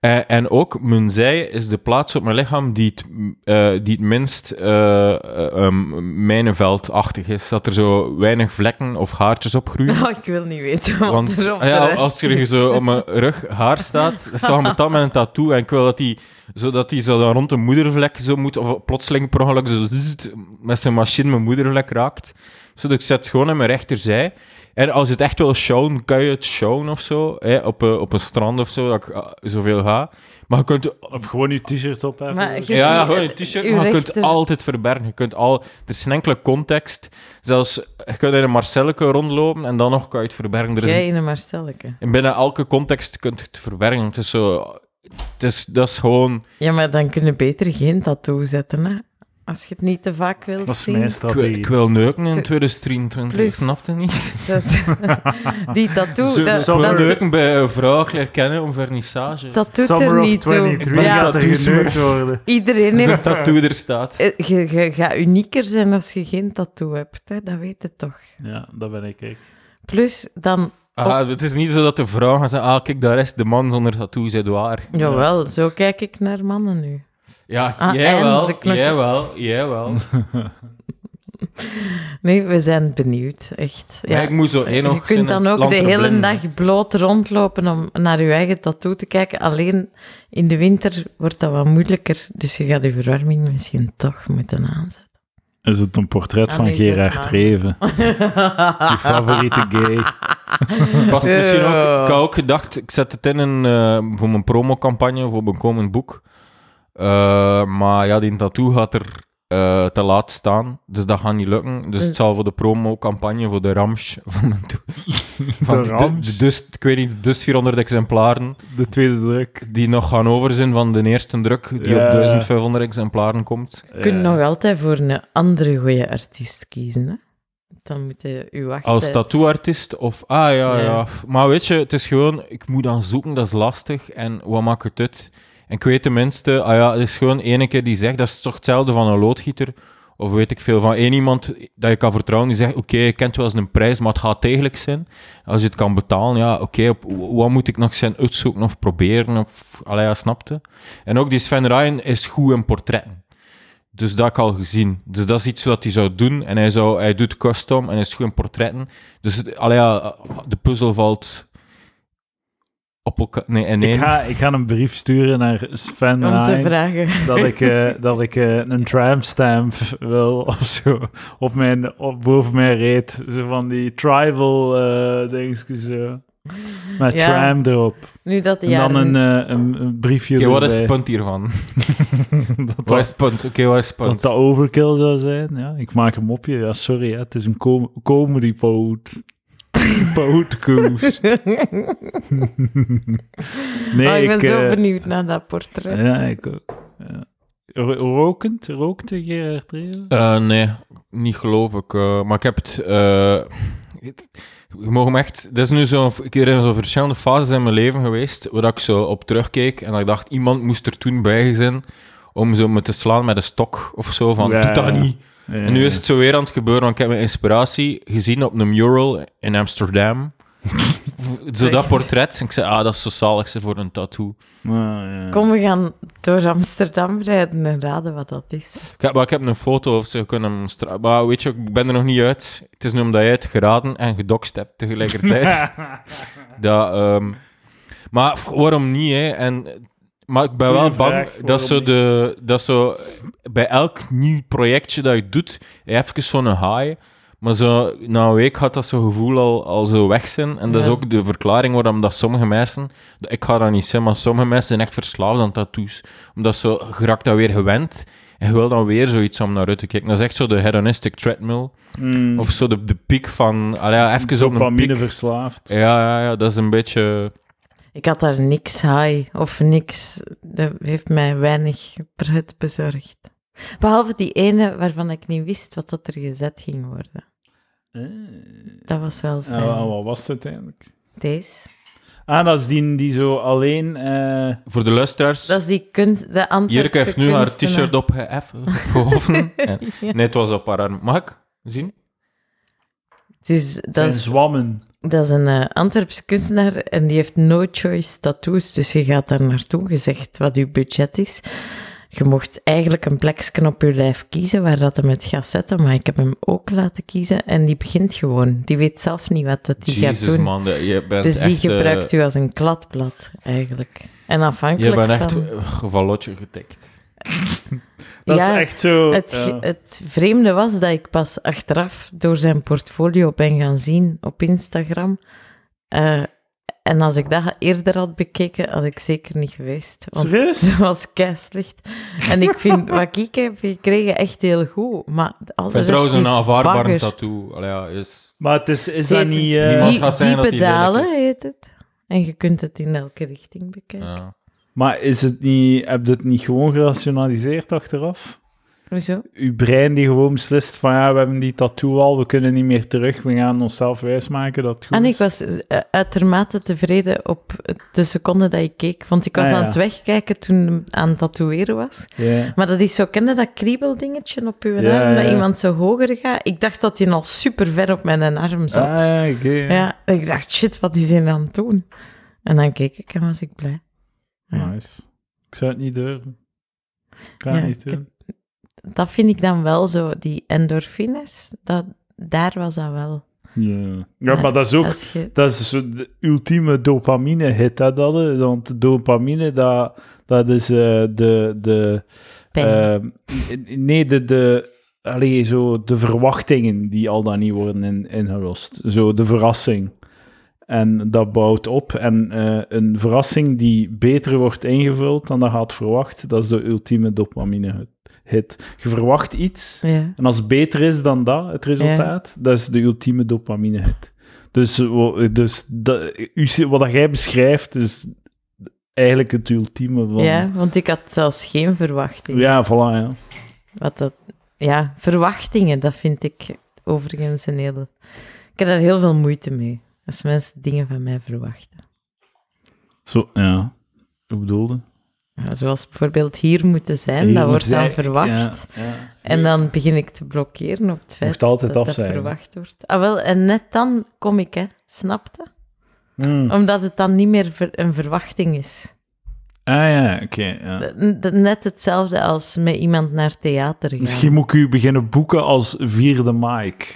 Speaker 2: Eh, en ook, mijn zij is de plaats op mijn lichaam die het, m- eh, die het minst eh, eh, um, mijnenveldachtig is. Dat er zo weinig vlekken of haartjes op groeien.
Speaker 3: Oh, ik wil niet weten wat
Speaker 2: Want ah
Speaker 3: er op de
Speaker 2: ja,
Speaker 3: rest
Speaker 2: als er
Speaker 3: is.
Speaker 2: zo op mijn rug haar staat, staat mijn tand met een tattoo. En ik wil dat die, zodat die zo dan rond de moedervlek zo moet, of plotseling per ongeluk zo zzzt, met zijn machine mijn moedervlek raakt. Zodat ik zet gewoon aan mijn rechterzij. En als je het echt wil showen, kan je het showen of zo. Hè, op, een, op een strand of zo, dat ik ah, zoveel ga. Maar je kunt
Speaker 1: Of gewoon uw t-shirt op hebben.
Speaker 3: Maar je-
Speaker 2: ja,
Speaker 3: ziet,
Speaker 2: ja,
Speaker 3: eh,
Speaker 2: gewoon een t-shirt,
Speaker 3: uw
Speaker 2: maar je kunt
Speaker 3: rechter-
Speaker 2: altijd verbergen. Je kunt al, er is een enkele context. Zelfs, je kunt in een Marcelleke rondlopen en dan nog kan je het verbergen. Er is
Speaker 3: Jij in een Marcelleke.
Speaker 2: en binnen elke context kunt je het verbergen. Het is zo... Het is, dat is gewoon...
Speaker 3: Ja, maar dan kunnen we beter geen tattoo zetten, hè? Als je het niet te vaak wilt
Speaker 1: Dat is
Speaker 3: zien.
Speaker 1: mijn
Speaker 2: Ik wil, ik
Speaker 1: strategie.
Speaker 2: wil neuken in
Speaker 3: Te-
Speaker 2: 2023,
Speaker 3: Plus-
Speaker 2: snapte niet?
Speaker 3: Dat, die tattoo,
Speaker 2: Zo-
Speaker 3: dat,
Speaker 2: zo
Speaker 1: summer-
Speaker 3: dat,
Speaker 2: neuken bij een vrouw herkennen om vernissage.
Speaker 3: dat doet
Speaker 1: Summer
Speaker 3: er
Speaker 1: of
Speaker 3: niet toe.
Speaker 1: 23
Speaker 2: Ja,
Speaker 1: gaat er
Speaker 2: doe ze maar.
Speaker 1: geneukt worden.
Speaker 3: Iedereen
Speaker 2: Dat
Speaker 3: heeft...
Speaker 2: tattoo er staat.
Speaker 3: eh, Je, je gaat unieker zijn als je geen tattoo hebt, hè? dat weet je toch.
Speaker 1: Ja, dat ben ik. ik.
Speaker 3: Plus dan...
Speaker 2: Ah, het is niet zo dat de vrouw gaat zeggen, ah, kijk, daar is de man zonder tattoo, zit waar.
Speaker 3: Jawel, zo kijk ik naar mannen nu.
Speaker 2: Ja,
Speaker 3: Ah,
Speaker 2: jij
Speaker 3: en
Speaker 2: wel,
Speaker 3: de knokken.
Speaker 2: jij wel, jij wel.
Speaker 3: Nee, we zijn benieuwd, echt. Ja.
Speaker 2: Maar ik moet zo één
Speaker 3: je
Speaker 2: oog
Speaker 3: kunt
Speaker 2: in
Speaker 3: dan
Speaker 2: het
Speaker 3: ook
Speaker 2: land
Speaker 3: de hele
Speaker 2: verblinden.
Speaker 3: dag bloot rondlopen om naar je eigen tattoo te kijken. Alleen in de winter wordt dat wat moeilijker. Dus je gaat je verwarming misschien toch moeten aanzetten.
Speaker 1: Is het een portret
Speaker 3: Ah,
Speaker 1: van
Speaker 3: nee, zes
Speaker 1: Gerard
Speaker 3: maanden.
Speaker 1: Reven? Je favoriete gay.
Speaker 2: Was het misschien ook,
Speaker 3: Ja.
Speaker 2: ik had ook gedacht, ik zet het in een, eh, voor mijn promocampagne, voor mijn komend boek. Eh, maar ja, die tattoo gaat er eh, te laat staan, dus dat gaat niet lukken. Dus het zal voor de promocampagne, voor de Rams van mijn toe- van de,
Speaker 1: Rams?
Speaker 2: de dus, ik weet niet, dus 400 exemplaren
Speaker 1: De tweede druk.
Speaker 2: die nog gaan over zijn van de eerste druk, die
Speaker 1: Ja.
Speaker 2: op 1500 exemplaren komt.
Speaker 1: Eh,
Speaker 3: Je kunt nog altijd voor een andere goede artiest kiezen. Hè? Dan moet je je wachten.
Speaker 2: Als tattooartiest of... Ah, ja,
Speaker 3: Ja.
Speaker 2: ja. Maar weet je, het is gewoon... Ik moet dan zoeken, dat is lastig. En wat maakt het uit? En ik weet tenminste... Ah ja, het is gewoon ene keer die zegt... Dat is toch hetzelfde van een loodgieter? Of weet ik veel, van één iemand dat je kan vertrouwen, die zegt, oké, je kent wel eens een prijs, maar het gaat degelijk zijn. Als je het kan betalen, ja, oké, op- w- wat moet ik nog zijn uitzoeken of proberen? Of, allee, ja, snapte. En ook die Sven Ryan is goed in portretten. Dus dat heb ik al gezien. Dus dat is iets wat hij zou doen. En hij, zou, hij doet custom en is goed in portretten. Dus allee, ja, de puzzel valt op elkaar. Nee, en nee.
Speaker 1: Ik ga, ik ga een brief sturen naar Sven
Speaker 3: Om te
Speaker 1: Rijn,
Speaker 3: vragen.
Speaker 1: dat ik, eh, dat ik eh, een tramstamp wil of zo op mijn, op, boven mijn reet. Zo van die tribal eh dingetjes zo. Met
Speaker 3: Ja.
Speaker 1: tram erop.
Speaker 3: Nu dat de
Speaker 1: En dan
Speaker 3: jaren...
Speaker 1: een, eh, een, een briefje
Speaker 2: Oké, wat is het
Speaker 1: erbij.
Speaker 2: punt hiervan?
Speaker 1: dat,
Speaker 2: Wat
Speaker 1: dat,
Speaker 2: is het punt? Oké, wat is het
Speaker 1: dat
Speaker 2: punt?
Speaker 1: dat overkill zou zijn. Ja, ik maak een mopje. Ja, sorry, hè, het is een com comedy poot. Pootkoest. nee,
Speaker 3: Oh, ik ben zo
Speaker 1: eh,
Speaker 3: benieuwd naar dat portret.
Speaker 1: Ja, ik ook. Ja. Ro- Rokend? Rookte Gerard Reven?
Speaker 2: Eh, nee, niet geloof ik. eh, maar ik heb het. eh, het- je mag hem echt. Dat is nu zo'n. Ik er zijn zo'n verschillende fases in mijn leven geweest. Waar dat ik zo op terugkeek. En dat ik dacht, iemand moest er toen bij zijn. Om zo me te slaan met een stok of zo. Van
Speaker 1: Ja,
Speaker 2: doe dat
Speaker 1: ja.
Speaker 2: niet. En nu is het zo weer aan het gebeuren. Want ik heb mijn inspiratie gezien op een mural in Amsterdam. zo dat
Speaker 3: Echt?
Speaker 2: portret. En ik zei, ah, dat is zo zalig ze voor een tattoo.
Speaker 3: Kom, we gaan door Amsterdam rijden en raden wat dat is.
Speaker 2: Ik heb, maar ik heb een foto of zo kunnen stra- Maar weet je, ik ben er nog niet uit. Het is nu omdat jij het geraden en gedokst hebt tegelijkertijd. dat, ehm, maar f- waarom niet, hè? En, maar ik ben
Speaker 1: Goeie
Speaker 2: wel bang
Speaker 1: vraag,
Speaker 2: dat zo,
Speaker 1: waarom
Speaker 2: de, dat zo bij elk nieuw projectje dat je doet, je hebt even zo'n high. Maar zo, na een week gaat dat zo gevoel al, al zo weg zijn. En dat is
Speaker 3: Ja.
Speaker 2: ook de verklaring waarom dat sommige mensen... Ik ga dat niet zijn, maar sommige mensen zijn echt verslaafd aan tattoos. Omdat zo geraakt dat weer gewend. En je wil dan weer zoiets om naar uit te kijken. Dat is echt zo de hedonistic treadmill. Of zo de, de piek van... Allee, ja, even op een
Speaker 1: Hmm. Dopamine
Speaker 2: piek.
Speaker 1: verslaafd.
Speaker 2: Ja, ja, ja, dat is een beetje...
Speaker 3: Ik had daar niks high of niks. Dat heeft mij weinig pret bezorgd. Behalve die ene waarvan ik niet wist wat dat er gezet ging worden. Dat was wel
Speaker 1: En
Speaker 3: Eh, fijn.
Speaker 1: wa- Ah, wat was het uiteindelijk?
Speaker 3: Deze.
Speaker 1: Ah, dat is die die zo alleen... eh,
Speaker 2: Voor de luisteraars...
Speaker 3: Dat is die kunst, de Antwerpse
Speaker 2: Jirke heeft nu haar
Speaker 3: kunstenaar.
Speaker 2: t-shirt opgeheffen. opgehoven. En-
Speaker 3: Ja.
Speaker 2: Nee, het was op haar arm. Mag ik zien?
Speaker 3: Dus
Speaker 1: zijn
Speaker 3: dat is,
Speaker 1: zwammen.
Speaker 3: dat is een eh, Antwerpse kunstenaar en die heeft no choice tattoos. Dus je gaat daar naartoe, je zegt wat je budget is. Je mocht eigenlijk een plekje op je lijf kiezen waar dat hem het gaat zetten, maar ik heb hem ook laten kiezen en die begint gewoon. Die weet zelf niet wat dat die gaat
Speaker 2: Jezus,
Speaker 3: doen.
Speaker 2: man. dat- Je bent
Speaker 3: dus die
Speaker 2: echt, eh,
Speaker 3: gebruikt u als een kladblad eigenlijk. En
Speaker 2: Je
Speaker 3: afhankelijk
Speaker 2: bent echt
Speaker 3: van...
Speaker 2: eh, gevallotje getikt.
Speaker 1: Dat
Speaker 3: Ja,
Speaker 1: is echt zo...
Speaker 3: Het, ge- eh,
Speaker 1: ja.
Speaker 3: het vreemde was dat ik pas achteraf door zijn portfolio ben gaan zien op Instagram. Eh, en als ik dat eerder had bekeken, had ik zeker niet geweest. Want
Speaker 1: Serieus?
Speaker 3: ze was keislicht. En ik vind wat ik heb gekregen echt heel goed. Maar al
Speaker 2: Ik
Speaker 3: de
Speaker 2: vind
Speaker 3: rest
Speaker 2: trouwens
Speaker 3: is
Speaker 2: een aanvaardbare
Speaker 3: bagger.
Speaker 2: tattoo. Allee, ja, is...
Speaker 1: Maar het is, is
Speaker 3: Het
Speaker 1: dat
Speaker 3: heet
Speaker 1: niet...
Speaker 3: die-
Speaker 1: eh,
Speaker 2: Niemand gaat zeggen dat
Speaker 3: diepe
Speaker 2: die lelijk is.
Speaker 3: dalen heet het. En je kunt het in elke richting bekijken.
Speaker 2: Ja.
Speaker 1: Maar is het niet... Heb je het niet gewoon gerationaliseerd achteraf?
Speaker 3: Hoezo?
Speaker 1: uw brein die gewoon beslist van ja, we hebben die tattoo al, we kunnen niet meer terug, we gaan onszelf wijsmaken dat het goed
Speaker 3: En
Speaker 1: is.
Speaker 3: ik was eh, uitermate tevreden op de seconde dat ik keek. Want ik was
Speaker 1: Ah, ja.
Speaker 3: aan het wegkijken toen hij aan het tatoeëren was.
Speaker 1: Ja.
Speaker 3: Maar dat is zo, kende dat kriebeldingetje op uw
Speaker 1: Ja,
Speaker 3: arm, dat
Speaker 1: ja.
Speaker 3: iemand zo hoger gaat? Ik dacht dat hij al super ver op mijn arm zat.
Speaker 1: Ah, oké.
Speaker 3: ja, en ik dacht, shit, wat is hij aan het doen? En dan keek ik en was ik blij.
Speaker 1: Nice. Ik zou het niet durven. Kan
Speaker 3: Ja,
Speaker 1: niet
Speaker 3: ik-
Speaker 1: doen.
Speaker 3: Dat vind ik dan wel zo, die endorfines, dat, daar was dat wel.
Speaker 1: Ja. ja, maar dat is ook
Speaker 3: Als je,
Speaker 1: Dat is zo de ultieme dopamine-hit, hè, dat. hè. Want dopamine, dat, dat is eh, de... de
Speaker 3: Pijn.
Speaker 1: ehm, nee, de... de allee, zo de verwachtingen die al dan niet worden in, ingelost. Zo de verrassing. En dat bouwt op. En eh, een verrassing die beter wordt ingevuld dan dat je had verwacht, dat is de ultieme dopamine-hit. Je verwacht iets...
Speaker 3: ja.
Speaker 1: En als het beter is dan dat, het resultaat, dat is de ultieme dopamine hit. Dus, eh, wo- dus dat, u zie- wat dat jij beschrijft is eigenlijk het ultieme van...
Speaker 3: ja, want ik had zelfs geen verwachting.
Speaker 1: ja voilà, ja.
Speaker 3: Wat dat, ja, verwachtingen, dat vind ik overigens een hele... Ik heb daar heel veel moeite mee, als mensen dingen van mij verwachten.
Speaker 1: Zo, ja. Hoe bedoelde?
Speaker 3: Ja, Zoals bijvoorbeeld hier moeten zijn,
Speaker 1: Hier
Speaker 3: dat wordt
Speaker 1: moet
Speaker 3: dan
Speaker 1: zij-
Speaker 3: verwacht.
Speaker 1: Ja, ja.
Speaker 3: En dan begin ik te blokkeren op het feit
Speaker 1: mocht altijd
Speaker 3: dat dat
Speaker 1: afzeilen.
Speaker 3: verwacht wordt. Ah wel, en net dan kom ik, hè. Snapte?
Speaker 1: Hmm.
Speaker 3: Omdat het dan niet meer ver- een verwachting is.
Speaker 1: Ah ja, oké. ja.
Speaker 3: N- n- Net hetzelfde als met iemand naar theater gaan.
Speaker 1: Misschien moet ik u beginnen boeken als vierde Mike.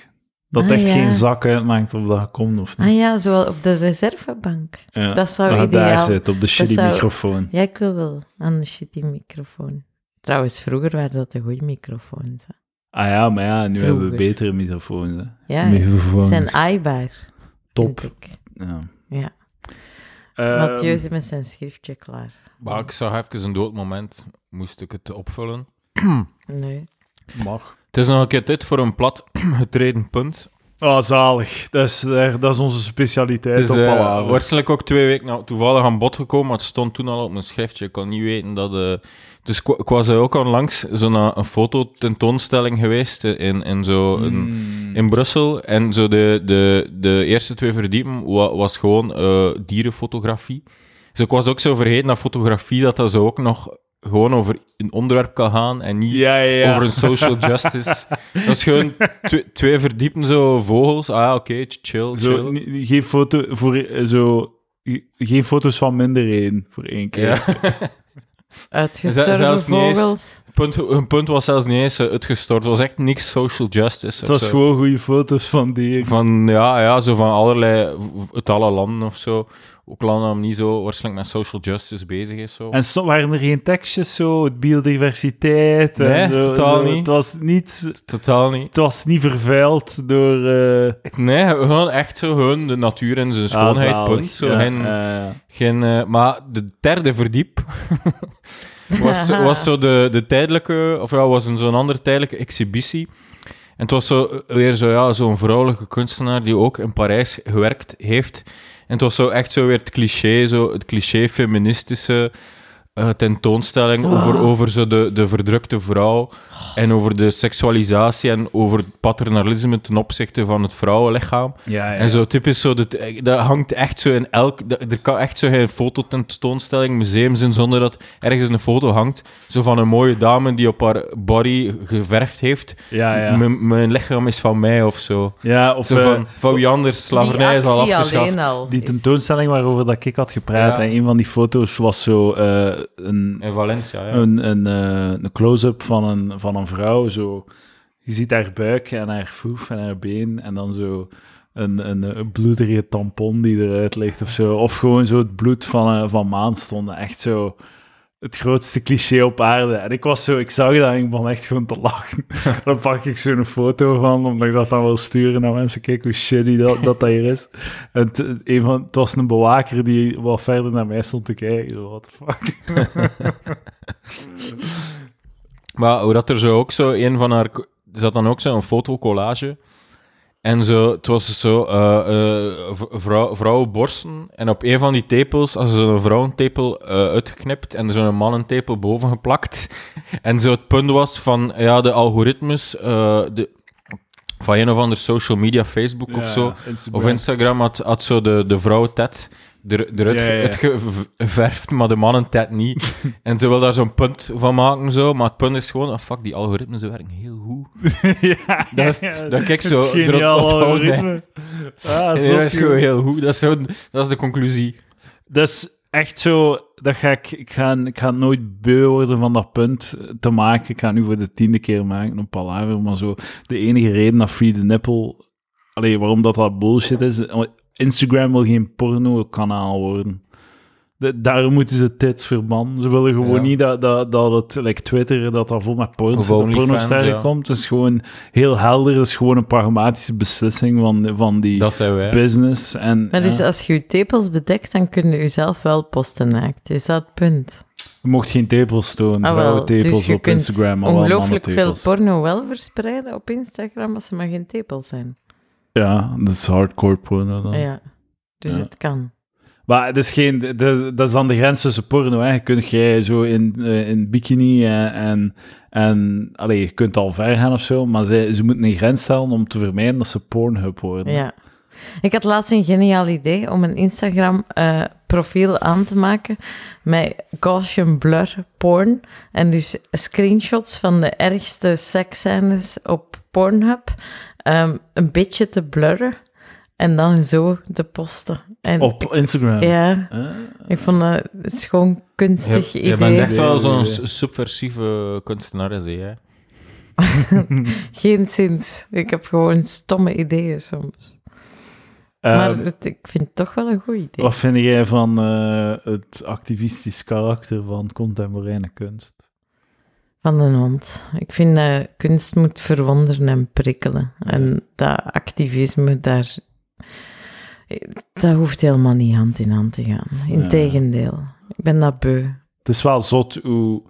Speaker 1: Dat
Speaker 3: Ah,
Speaker 1: echt
Speaker 3: ja.
Speaker 1: geen zak uitmaakt of dat je komt of niet.
Speaker 3: Ah ja, zo op de reservebank.
Speaker 1: Ja,
Speaker 3: dat zou
Speaker 1: je daar
Speaker 3: ideaal-
Speaker 1: zit, op de shitty
Speaker 3: zou-
Speaker 1: microfoon.
Speaker 3: Ja, ik wil wel aan de shitty microfoon. Trouwens, vroeger waren dat de goede microfoons. hè.
Speaker 1: Ah ja, maar ja, nu hebben we
Speaker 3: Vroeger.
Speaker 1: betere microfoons. Hè.
Speaker 3: Ja,
Speaker 1: Microfoons.
Speaker 3: zijn aaibaar.
Speaker 1: Top.
Speaker 3: vind ik.
Speaker 1: Ja.
Speaker 3: Ja.
Speaker 1: Ehm,
Speaker 3: Mathieu is met zijn schriftje klaar.
Speaker 2: Maar ik zag even een dood moment. Moest ik het opvullen?
Speaker 3: Nee.
Speaker 2: Mag. Het is nog een keer dit voor een plat getreden punt.
Speaker 1: Oh, zalig. Dat is, eh, dat is onze specialiteit
Speaker 2: Het is
Speaker 1: op
Speaker 2: eh,
Speaker 1: Palaver.
Speaker 2: waarschijnlijk ook twee weken nou, toevallig aan bod gekomen, maar het stond toen al op mijn schriftje. Ik kan niet weten dat... eh, dus ik, wa- ik was er ook al langs zo'n eh, een fototentoonstelling geweest eh, in, in, zo een,
Speaker 1: Hmm.
Speaker 2: in Brussel. En zo de, de, de eerste twee verdiepen wa- was gewoon eh, dierenfotografie. Dus ik was ook zo vergeten dat fotografie, dat dat zo ook nog gewoon over een onderwerp kan gaan en niet
Speaker 1: Ja, ja, ja.
Speaker 2: over een social justice. dat is gewoon twe- twee verdiepen zo vogels. Ah ja, oké, ch- chill, chill.
Speaker 1: Zo, ni- geen, foto voor, eh, zo, ge- geen foto's van minderheden voor één keer.
Speaker 2: Ja.
Speaker 3: Uitgestorven
Speaker 2: zelfs niet eens-
Speaker 3: vogels.
Speaker 2: Punt, hun punt was zelfs niet eens eh, uitgestort. Het was echt niks social justice.
Speaker 1: Het
Speaker 2: of
Speaker 1: was
Speaker 2: zo.
Speaker 1: gewoon goede foto's van dieren.
Speaker 2: Van, ja, ja, zo van allerlei... v- uit alle landen of zo. Ook landen dat niet zo waarschijnlijk met social justice bezig is. Zo.
Speaker 1: En stond, waren er geen tekstjes zo, het biodiversiteit? en
Speaker 2: Nee,
Speaker 1: zo-
Speaker 2: totaal
Speaker 1: zo.
Speaker 2: niet.
Speaker 1: Het was niet,
Speaker 2: Totaal niet.
Speaker 1: het was niet vervuild door... eh,
Speaker 2: Nee, gewoon echt zo hun, de natuur en zijn schoonheid,
Speaker 1: ah, zalig.
Speaker 2: punt. Zo,
Speaker 1: Ja,
Speaker 2: geen,
Speaker 1: eh,
Speaker 2: geen, eh, maar de derde verdiep was, was zo de, de tijdelijke... Of ja, was een zo'n andere tijdelijke exhibitie. En het was zo, eh, weer zo'n ja, zo'n vrouwelijke kunstenaar die ook in Parijs gewerkt heeft. En het was zo echt zo weer het cliché, zo het cliché feministische eh, tentoonstelling over, over zo de, de verdrukte vrouw en over de seksualisatie en over het paternalisme ten opzichte van het vrouwenlichaam.
Speaker 1: ja, ja.
Speaker 2: En zo typisch zo, dat, eh, dat hangt echt zo in elk... dat- er kan echt zo geen fototentoonstelling, museum zijn, zonder dat ergens een foto hangt. Zo van een mooie dame die op haar body geverfd heeft.
Speaker 1: ja, ja.
Speaker 2: "M- Mijn lichaam is van mij, of zo.
Speaker 1: ja, of
Speaker 2: Zo
Speaker 1: eh,
Speaker 2: van, van wie anders, slavernij is al
Speaker 3: actie
Speaker 2: afgeschaft.
Speaker 3: alleen al
Speaker 1: Die
Speaker 3: is-
Speaker 1: tentoonstelling waarover dat ik had gepraat,
Speaker 2: Ja.
Speaker 1: en een van die foto's was zo eh, een,
Speaker 2: In Valencia, ja.
Speaker 1: een, een, eh, een close-up van een, van een vrouw. Zo. Je ziet haar buik en haar voef en haar been en dan zo een, een, een bloederige tampon die eruit ligt of zo. Of gewoon zo het bloed van, eh, van maan stonden. Echt zo het grootste cliché op aarde. En ik was zo, ik zag dat en ik begon echt gewoon te lachen. dan pak ik zo'n foto van, omdat ik dat dan wil sturen naar mensen. Kijk hoe shitty dat dat, dat hier is. En het, een van, het was een bewaker die wat verder naar mij stond te kijken. Zo, What the fuck?
Speaker 2: Maar hoe dat er zo ook zo een van haar. Er zat dan ook zo'n fotocollage. En zo, het was dus zo eh, eh, v- vrouw, vrouwenborsten. En op een van die tepels, als zo'n vrouwentepel eh, uitgeknipt en er zo'n mannentepel boven geplakt. En zo het punt was van ja, de algoritmes eh, de, van een of ander social media, Facebook of zo. Of Instagram had, had zo de, de vrouwentet er, eruit
Speaker 1: Ja, ja, ja.
Speaker 2: het geverfd, maar de mannentet niet. en ze wil daar zo'n punt van maken, zo. maar het punt is gewoon, ah fuck, die algoritmes werken heel goed.
Speaker 1: ja,
Speaker 2: Dat is- dat kijk zo,
Speaker 1: is
Speaker 2: erop
Speaker 1: geniaal
Speaker 2: onthouden,
Speaker 1: algoritme. Ah,
Speaker 2: En
Speaker 1: zot,
Speaker 2: dat is
Speaker 1: joh.
Speaker 2: gewoon heel goed, dat is, zo, dat is de conclusie.
Speaker 1: Dat is echt zo, dat ga ik, ik ga, ik ga nooit beu worden van dat punt te maken. Ik ga het nu voor de tiende keer maken op Palaver, maar zo. De enige reden dat Free the Nipple, allee, waarom dat dat bullshit is, Instagram wil geen porno-kanaal worden. De, daarom moeten ze tits verbannen. Ze willen gewoon
Speaker 2: Ja.
Speaker 1: niet dat, dat, dat het, like Twitter, dat dat vol met porno
Speaker 2: Of
Speaker 1: zit, dat
Speaker 2: OnlyFans,
Speaker 1: pornosterren
Speaker 2: ja.
Speaker 1: komt. Het is gewoon heel helder, het is gewoon een pragmatische beslissing van, van die
Speaker 2: Dat zijn wij.
Speaker 1: business. En, eh,
Speaker 3: Maar dus
Speaker 1: ja.
Speaker 3: als je je tepels bedekt, dan kun je jezelf wel posten naakt. Is dat het punt?
Speaker 1: Je mocht geen tepels tonen,
Speaker 3: Ah, wel.
Speaker 1: vrouwentepels
Speaker 3: Dus je
Speaker 1: op
Speaker 3: kunt
Speaker 1: Instagram, maar wel
Speaker 3: ongelooflijk veel
Speaker 1: mannentepels.
Speaker 3: porno wel verspreiden op Instagram als ze maar geen tepels zijn.
Speaker 1: Ja, dat is hardcore porno dan.
Speaker 3: Ja. Dus
Speaker 1: Ja.
Speaker 3: het kan.
Speaker 1: Maar het is geen, de, de- dat is dan de grens tussen porno. Hè. Je kunt jij zo in, eh, in bikini en, en, en allee, je kunt al ver gaan of zo, maar ze, ze moeten een grens stellen om te vermijden dat ze pornhub worden.
Speaker 3: Ja. Ik had laatst een geniaal idee om een Instagram-profiel aan te maken met Gaussian blur porn. En dus screenshots van de ergste seksscènes op Pornhub ehm, een beetje te blurren en dan zo te posten. En
Speaker 1: Op eh, Instagram.
Speaker 3: Ja,
Speaker 1: Huh?
Speaker 3: ik vond dat een schoon kunstig
Speaker 2: Je,
Speaker 3: idee.
Speaker 2: je bent echt wel
Speaker 1: Nee,
Speaker 2: zo'n
Speaker 1: nee,
Speaker 2: s- subversieve kunstenaar, hè? jij.
Speaker 3: Geen zins. Ik heb gewoon stomme ideeën soms. maar
Speaker 1: Ehm,
Speaker 3: het- ik vind het toch wel een goed idee.
Speaker 1: wat vind jij van eh, het activistisch karakter van contemporaine kunst?
Speaker 3: Van een hond. Ik vind dat kunst moet verwonderen en prikkelen. En dat activisme daar... Dat hoeft helemaal niet hand in hand te gaan. Integendeel. Ik ben dat beu.
Speaker 1: Het is wel zot hoe...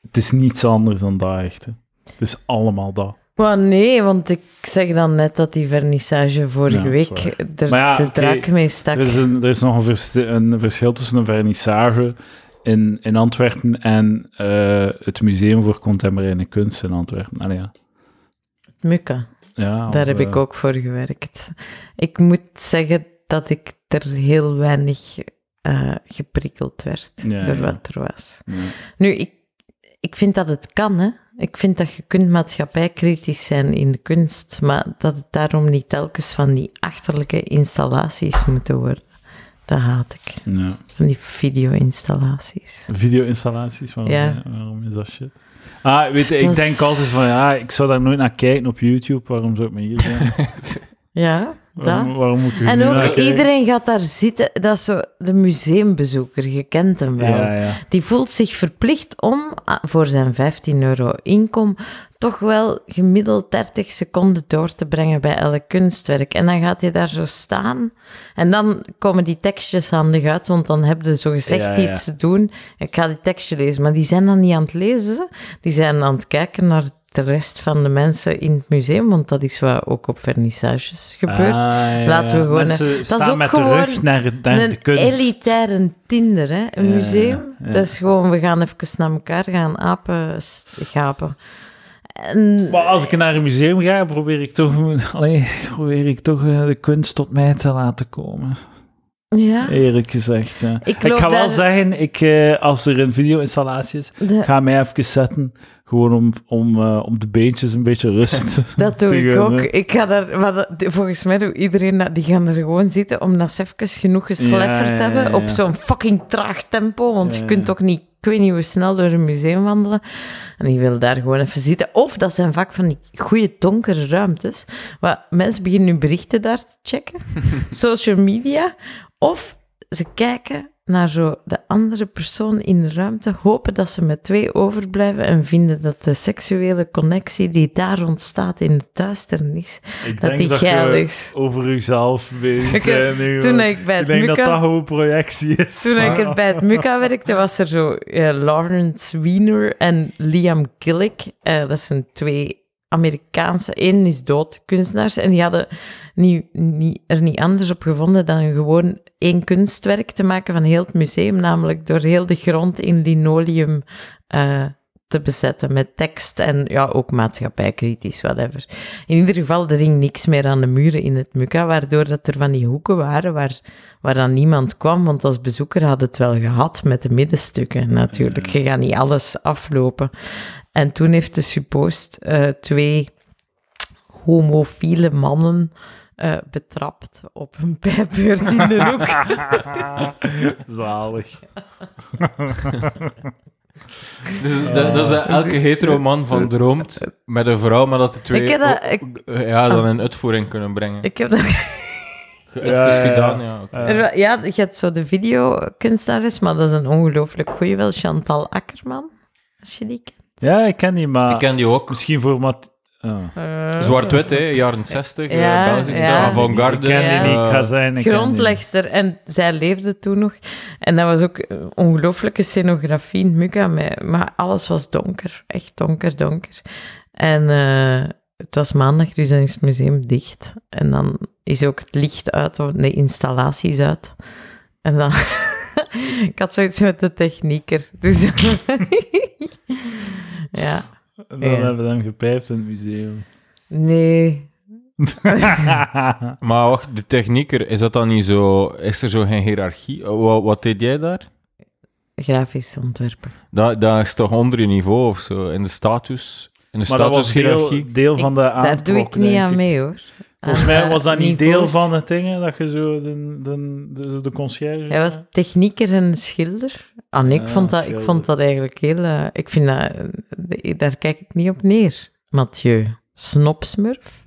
Speaker 1: Het is niets anders dan dat echt. hè. Het is allemaal dat.
Speaker 3: Maar nee, want ik zeg dan net dat die vernissage vorige
Speaker 1: Ja,
Speaker 3: week
Speaker 1: dat is
Speaker 3: er
Speaker 1: Maar ja,
Speaker 3: de
Speaker 1: oké,
Speaker 3: draak mee stak.
Speaker 1: Er is, een, er is nog een, vers- een verschil tussen een vernissage in, in Antwerpen en eh, het Museum voor Contemporaine Kunst in Antwerpen. Allee, ja.
Speaker 3: Mukka.
Speaker 1: Ja,
Speaker 3: Daar
Speaker 1: of,
Speaker 3: heb ik
Speaker 1: eh,
Speaker 3: ook voor gewerkt. Ik moet zeggen dat ik er heel weinig eh, geprikkeld werd
Speaker 1: Ja,
Speaker 3: door
Speaker 1: ja.
Speaker 3: wat er was.
Speaker 1: ja.
Speaker 3: Nu, ik, ik vind dat het kan, hè. Ik vind dat je kunt maatschappijkritisch zijn in de kunst, maar dat het daarom niet telkens van die achterlijke installaties moeten worden. Dat haat ik,
Speaker 1: ja.
Speaker 3: van die video-installaties.
Speaker 1: Video-installaties, waarom,
Speaker 3: Ja.
Speaker 1: waarom is dat shit? Ah, weet je, ik
Speaker 3: Dat is-
Speaker 1: denk altijd van, ja, ik zou daar nooit naar kijken op YouTube. Waarom zou ik me hier zijn?
Speaker 3: Ja, dat.
Speaker 1: Waarom, waarom moet eh, ik er
Speaker 3: En
Speaker 1: nu naar
Speaker 3: ook
Speaker 1: kijken?
Speaker 3: iedereen gaat daar zitten, dat is zo de museumbezoeker, je kent hem wel.
Speaker 1: Ja, ja.
Speaker 3: Die voelt zich verplicht om ah, voor zijn 15 euro inkom toch wel gemiddeld 30 seconden door te brengen bij elk kunstwerk. En dan gaat hij daar zo staan. En dan komen die tekstjes handig uit, want dan hebben ze zogezegd
Speaker 1: Ja, ja.
Speaker 3: iets te doen. Ik ga die tekstje lezen, maar die zijn dan niet aan het lezen. Die zijn aan het kijken naar de rest van de mensen in het museum, want dat is wat ook op vernissages gebeurt.
Speaker 1: Ah, ja,
Speaker 3: Laten we
Speaker 1: ja.
Speaker 3: gewoon, hè.
Speaker 1: Mensen
Speaker 3: Dat is
Speaker 1: staan
Speaker 3: ook
Speaker 1: met de rug
Speaker 3: gewoon
Speaker 1: naar, naar de
Speaker 3: een
Speaker 1: kunst.
Speaker 3: elitaire Tinder, hè? Een
Speaker 1: Ja,
Speaker 3: museum.
Speaker 1: ja.
Speaker 3: Dat is gewoon, we gaan even naar elkaar gaan apen, s- gapen. En
Speaker 1: Maar als ik naar een museum ga, probeer ik toch, allee, probeer ik toch eh, de kunst tot mij te laten komen.
Speaker 3: ja,
Speaker 1: Eerlijk gezegd. ja.
Speaker 3: Ik
Speaker 1: Ik,
Speaker 3: loop
Speaker 1: ga wel
Speaker 3: daar-
Speaker 1: zeggen, ik, eh, als er een video-installatie is,
Speaker 3: de-
Speaker 1: ga mij even zetten. Gewoon om, om, eh, om de beentjes een beetje rust.
Speaker 3: dat doe ik
Speaker 1: tegen,
Speaker 3: ook.
Speaker 1: hè.
Speaker 3: Ik ga daar, maar dat- volgens mij doet iedereen dat. Die gaan er gewoon zitten omdat ze even genoeg geslefferd
Speaker 1: Ja, ja, ja,
Speaker 3: hebben op
Speaker 1: ja.
Speaker 3: zo'n fucking traag tempo. Want
Speaker 1: Ja,
Speaker 3: je kunt
Speaker 1: ja.
Speaker 3: ook niet, ik weet niet hoe snel, door een museum wandelen. En die willen daar gewoon even zitten. Of dat zijn vaak van die goede donkere ruimtes. Waar mensen beginnen nu berichten daar te checken. social media. Of ze kijken naar zo de andere persoon in de ruimte, hopen dat ze met twee overblijven en vinden dat de seksuele connectie die daar ontstaat in de duisternis,
Speaker 1: ik
Speaker 3: dat die geil is.
Speaker 1: over uzelf bezig
Speaker 3: Ik- bent
Speaker 1: nu.
Speaker 3: Toen ik bij
Speaker 1: ik
Speaker 3: het
Speaker 1: denk dat dat
Speaker 3: Mukka...
Speaker 1: gewoon projectie is.
Speaker 3: Toen ik het bij het Mukka werkte, was er zo eh, Lawrence Wiener en Liam Gillick. Eh, dat zijn twee Amerikaanse, één is dood, kunstenaars. En die hadden niet, niet, er niet anders op gevonden dan gewoon één kunstwerk te maken van heel het museum. Namelijk door heel de grond in linoleum eh, te bezetten met tekst en ja, ook maatschappijkritisch, whatever. In ieder geval, er hing niks meer aan de muren in het Mukka, waardoor dat er van die hoeken waren waar, waar dan niemand kwam, want als bezoeker had het wel gehad met de middenstukken natuurlijk. Je gaat niet alles aflopen. En toen heeft de suppost eh, twee homofiele mannen eh, betrapt op een pijpbeurt in de hoek.
Speaker 1: Zalig.
Speaker 2: Dus dat, dat is dat elke hetero man van droomt met een vrouw, maar dat de twee
Speaker 3: Ik heb dat- ik-
Speaker 2: ook, eh, ja, dan een uitvoering kunnen brengen.
Speaker 3: Ik heb dat
Speaker 2: Even
Speaker 1: Ja, ja, ja.
Speaker 2: gedaan, ja. oké.
Speaker 1: Eh,
Speaker 3: Er wa- ja, je hebt zo de videokunstenares, maar dat is een ongelooflijk goeie wel, Chantal Akkerman, als je die kent.
Speaker 1: ja, ik ken die, maar
Speaker 2: Ik ken die ook.
Speaker 1: misschien voor Mat... Oh.
Speaker 3: Ah,
Speaker 2: Zwart-wit, hè, jaren 60, eh,
Speaker 3: Ja,
Speaker 2: Belgisch,
Speaker 3: ja.
Speaker 2: eh, avant-garde.
Speaker 1: Ik ken die niet,
Speaker 2: eh,
Speaker 1: ik ga zijn. ik ken die niet.
Speaker 3: Grondlegster. En zij leefde toen nog. En dat was ook eh, ongelooflijke scenografie in Mukka. met- Maar alles was donker. Echt donker, donker. En eh, het was maandag, dus dan is het museum dicht. En dan is ook het licht uit, of de installatie is uit. En dan... ik had zoiets met de technieker. Dus... ja.
Speaker 1: En dan
Speaker 3: Ja.
Speaker 1: hebben we hem gepijpt in het museum.
Speaker 3: Nee.
Speaker 2: Eh, Maar wacht, de technieker, is dat dan niet zo... Is er zo geen hiërarchie? Eh, wa- Wat, deed jij daar?
Speaker 3: Grafisch ontwerpen.
Speaker 2: Dat, dat is toch onder je niveau of zo? In de status? In de
Speaker 1: maar dat was
Speaker 2: statushiërarchie?
Speaker 1: deel, deel van
Speaker 3: Ik-
Speaker 1: de
Speaker 3: Daar doe
Speaker 1: aantrok,
Speaker 3: ik niet
Speaker 1: denk
Speaker 3: aan
Speaker 1: ik.
Speaker 3: mee, hoor.
Speaker 1: Volgens
Speaker 3: Aan,
Speaker 1: mij
Speaker 3: eh,
Speaker 1: was dat niet
Speaker 3: niveaus.
Speaker 1: deel van het ding, hè, dat je zo de, de, de, de conciërge...
Speaker 3: Hij was technieker en schilder. Ah, nee, ik,
Speaker 1: Ah,
Speaker 3: vond dat, ik
Speaker 1: schilder.
Speaker 3: vond dat eigenlijk heel... eh, ik vind dat... eh, Daar kijk ik niet op neer, Mathieu. Snopsmurf?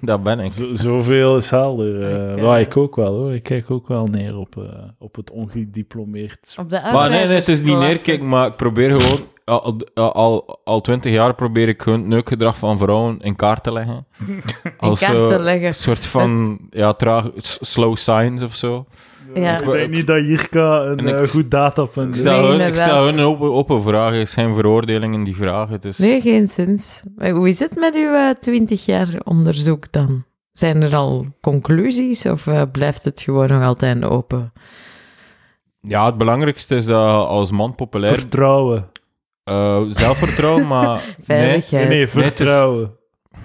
Speaker 2: Dat ben ik.
Speaker 1: Zo- zoveel is helder. eh,
Speaker 3: Ik, eh,
Speaker 1: waar ik ook wel hoor. Ik kijk ook wel neer op, eh, op het ongediplomeerd.
Speaker 3: Op de
Speaker 2: Maar nee, nee, het is niet neerkijken, maar ik probeer gewoon... Al, al, al, twintig jaar probeer ik gewoon het neukgedrag van vrouwen in kaart te leggen.
Speaker 3: In
Speaker 2: zo
Speaker 3: kaart te leggen.
Speaker 2: Een soort van, ja, traag, s- slow signs of zo.
Speaker 3: Ja.
Speaker 1: Ik denk niet dat Jirka een
Speaker 2: En ik-
Speaker 1: eh, goed datapunt
Speaker 2: Ik
Speaker 1: is.
Speaker 2: stel,
Speaker 3: Nee,
Speaker 2: hun, ik
Speaker 3: inderdaad.
Speaker 2: stel hun open, open vragen, er is geen veroordeling in die vragen. dus- Het is...
Speaker 3: Nee, geen zins. Maar Hoe is het met uw eh, twintig jaar onderzoek dan? Zijn er al conclusies of eh, blijft het gewoon nog altijd een open?
Speaker 2: Ja, het belangrijkste is dat je als man populair
Speaker 1: Vertrouwen.
Speaker 2: eh, zelfvertrouwen, maar nee.
Speaker 1: Nee,
Speaker 3: Veiligheid.
Speaker 1: nee,
Speaker 2: het is-
Speaker 1: vertrouwen.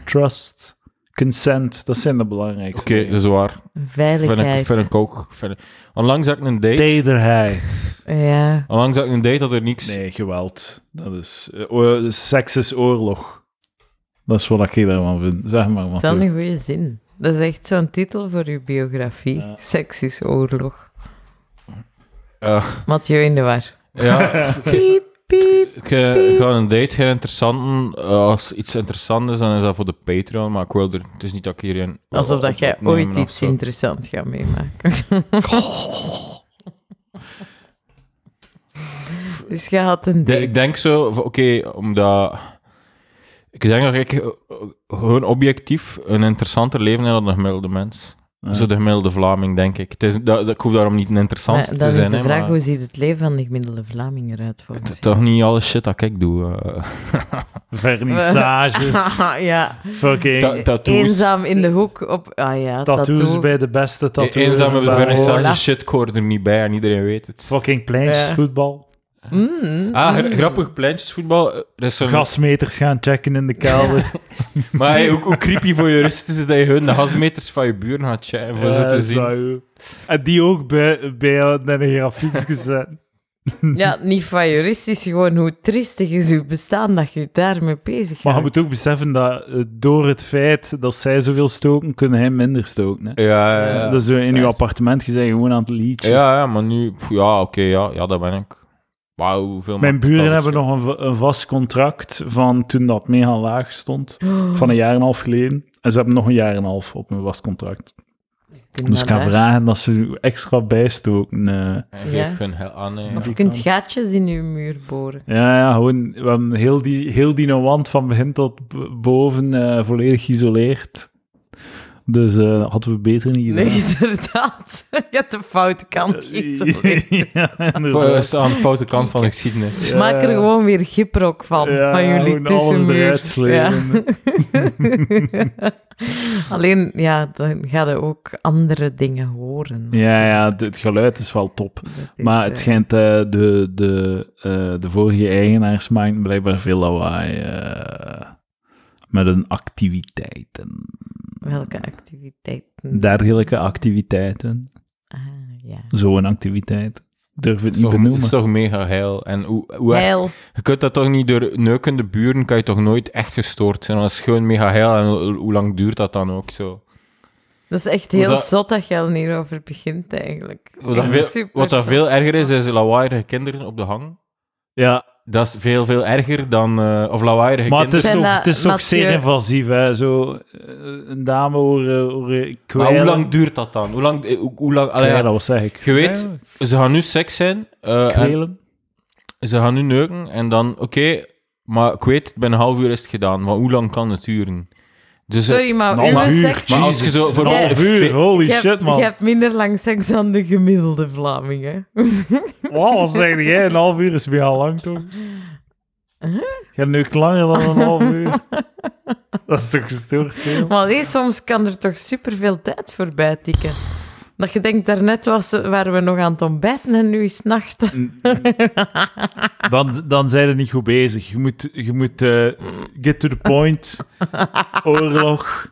Speaker 1: Trust. Consent. Dat zijn de belangrijkste.
Speaker 2: Oké, dus- dat is waar. Vind ik,
Speaker 3: Veiligheid.
Speaker 2: vind ik ook. Vind ik- Onlangs had ik een date.
Speaker 1: Tederheid.
Speaker 3: Ja.
Speaker 2: Onlangs had ik een date dat er niks...
Speaker 1: Nee, geweld. Dat is... eh, oor- seks is oorlog. Dat is wat ik daarvan vind. Zeg maar,
Speaker 3: Dat is wel
Speaker 1: Mathieu.
Speaker 3: een goede zin. Dat is echt zo'n titel voor uw biografie.
Speaker 1: Ja.
Speaker 3: Seks is oorlog.
Speaker 2: Eh,
Speaker 3: Mathieu in de war.
Speaker 2: ja, ik,
Speaker 3: Piep, piep.
Speaker 2: ik, eh, ik had een date, geen interessanten. Eh, als iets interessant is, dan is dat voor de Patreon, maar ik wil er... Het is niet dat ik hierin...
Speaker 3: Alsof
Speaker 2: op-
Speaker 3: dat jij
Speaker 2: opnemen
Speaker 3: ooit
Speaker 2: of
Speaker 3: iets
Speaker 2: zo.
Speaker 3: interessants gaat meemaken. dus je had een
Speaker 2: De-
Speaker 3: date.
Speaker 2: ik denk zo, van, oké, omdat... Ik denk dat ik eh, gewoon objectief een interessanter leven heb dan de gemiddelde mens.
Speaker 1: Ja.
Speaker 2: Zo de gemiddelde Vlaming, denk ik. Het is, dat, dat- ik hoef daarom niet een
Speaker 3: Maar
Speaker 2: interessantste
Speaker 3: dat
Speaker 2: te
Speaker 3: is
Speaker 2: zijn.
Speaker 3: de
Speaker 2: hè,
Speaker 3: vraag,
Speaker 2: maar
Speaker 3: hoe ziet het leven van de gemiddelde Vlaming eruit
Speaker 2: het
Speaker 3: volgens
Speaker 2: is toch niet alle shit dat ik doe. eh.
Speaker 3: jou?
Speaker 1: Vernissages.
Speaker 3: Haha, Ah, ja,
Speaker 1: Fucking...
Speaker 2: Ta- tattoos.
Speaker 3: eenzaam in de hoek op... Ah ja,
Speaker 1: Tattoos
Speaker 3: tattoo.
Speaker 1: bij de beste
Speaker 2: E-
Speaker 1: tattooers.
Speaker 2: Eenzaam op de
Speaker 1: bij
Speaker 2: vernissage,
Speaker 1: Holland.
Speaker 3: Voilà.
Speaker 2: shit, ik hoor er niet bij en iedereen weet het.
Speaker 1: Fucking pleintjesvoetbal.
Speaker 3: Mm,
Speaker 2: Ah, gra- grappig, pleintjesvoetbal. eh, Er is zo'n-
Speaker 1: Gasmeters gaan checken in de kelder.
Speaker 2: Maar hey, hoe, hoe creepy voor je rust is, is dat je hun de gasmeters van je buren gaat checken voor
Speaker 1: Ja,
Speaker 2: ze te
Speaker 1: dat is
Speaker 2: zien.
Speaker 1: waar, joh. Eh, En die ook bij, bij jou naar de grafiek gezet.
Speaker 3: Ja, niet van juristisch, gewoon hoe tristig is uw bestaan dat je daarmee bezig
Speaker 1: Maar je
Speaker 3: bent.
Speaker 1: moet ook beseffen dat eh, door het feit dat zij zoveel stoken, kunnen hij minder stoken. Hè?
Speaker 2: Ja, ja, ja.
Speaker 1: dat is zo in
Speaker 2: Fair.
Speaker 1: uw appartement, je bent gewoon aan het liedje.
Speaker 2: Ja, ja, maar nu... pff, ja, oké, ja, ja, dat ben ik. Wauw, hoeveel...
Speaker 1: Mijn
Speaker 2: maakt dat
Speaker 1: buren
Speaker 2: uit?
Speaker 1: hebben nog een, va- een vast contract van toen dat mega laag stond, van een jaar en een half geleden. En ze hebben nog een jaar en een half op een vast contract. Dus ik ga vragen dat ze extra bijstoken. eh.
Speaker 2: En geef
Speaker 3: Ja.
Speaker 2: geen hel aan, nee,
Speaker 3: Of
Speaker 2: ja.
Speaker 3: je kunt gaatjes in je muur boren.
Speaker 1: Ja, ja, gewoon we hebben heel die, heel die wand van begin tot b- boven eh, volledig geïsoleerd. Dus eh, dat hadden we beter niet gedaan.
Speaker 3: Nee, inderdaad. Je hebt de foute kant geïsoleerd.
Speaker 1: ja,
Speaker 2: Voor-
Speaker 1: inderdaad.
Speaker 2: is aan de foute kant van de geschiedenis.
Speaker 1: Ja.
Speaker 3: Maak er gewoon weer giprok van,
Speaker 1: Ja,
Speaker 3: van jullie
Speaker 1: gewoon alles
Speaker 3: tussenmuur.
Speaker 1: eruit slepen.
Speaker 3: Ja. Alleen, ja, dan ga je ook andere dingen horen.
Speaker 1: Ja, ja, d- het geluid is wel top.
Speaker 3: Dat is,
Speaker 1: Maar het
Speaker 3: eh,
Speaker 1: schijnt, eh, de, de, eh, de vorige eigenaars maken blijkbaar veel lawaai eh, met hun activiteiten.
Speaker 3: Welke activiteiten?
Speaker 1: Dergelijke activiteiten.
Speaker 3: Ah, ja.
Speaker 1: Zo'n activiteit. Durf het
Speaker 2: Het is
Speaker 1: niet
Speaker 2: toch, het
Speaker 1: benoemen.
Speaker 2: is toch mega heil. En hoe, hoe echt-
Speaker 3: Heil.
Speaker 2: je kunt dat toch niet door neukende buren, kan je toch nooit echt gestoord zijn. Dat is gewoon mega heil. En ho- hoe lang duurt dat dan ook zo?
Speaker 3: Dat is echt heel
Speaker 2: Wat dat-
Speaker 3: zot dat je al hierover begint, eigenlijk.
Speaker 2: Wat, dat
Speaker 3: Ja,
Speaker 2: veel,
Speaker 3: super
Speaker 2: wat dat
Speaker 3: zot.
Speaker 2: veel erger is, is lawaaierige kinderen op de hang.
Speaker 1: Ja,
Speaker 2: Dat is veel, veel erger dan... eh, of lawaaierige
Speaker 1: maar het
Speaker 2: kinderen.
Speaker 1: is toch,
Speaker 3: Ik ben, eh,
Speaker 1: het is toch zeer
Speaker 3: Mathieu-
Speaker 1: invasief, hè? Zo eh, een dame horen, horen
Speaker 2: Maar hoe
Speaker 1: kwijlen.
Speaker 2: lang duurt dat dan? Hoe lang... eh, Hoe, hoe lang allee,
Speaker 1: Kwijlen, wat zeg ik?
Speaker 2: Je weet- Ze gaan nu seks zijn. eh, en
Speaker 1: Kwelen?
Speaker 2: ze gaan nu neuken. En dan, oké, maar ik weet, binnen een half uur is het gedaan. Maar hoe lang kan het duren? Dus, eh,
Speaker 3: Sorry, maar
Speaker 1: Een
Speaker 3: uw
Speaker 1: half uur,
Speaker 3: seks...
Speaker 2: maar als je zo voor
Speaker 1: Een
Speaker 3: Nee,
Speaker 1: half uur, holy
Speaker 3: je hebt-
Speaker 1: shit, man.
Speaker 3: Je hebt minder lang seks dan de gemiddelde Vlaming, hè.
Speaker 1: Wow, wat zeg jij? Een half uur is weer al lang, toch? Je neukt langer dan een half uur. Dat is toch gestoord, hè?
Speaker 3: Maar allee, soms kan er toch superveel tijd voorbij tikken. Dat je denkt, daarnet was, waren we nog aan het ontbijten en nu is het nacht.
Speaker 1: Dan, dan zijn ze niet goed bezig. Je moet, je moet eh, get to the point. Oorlog.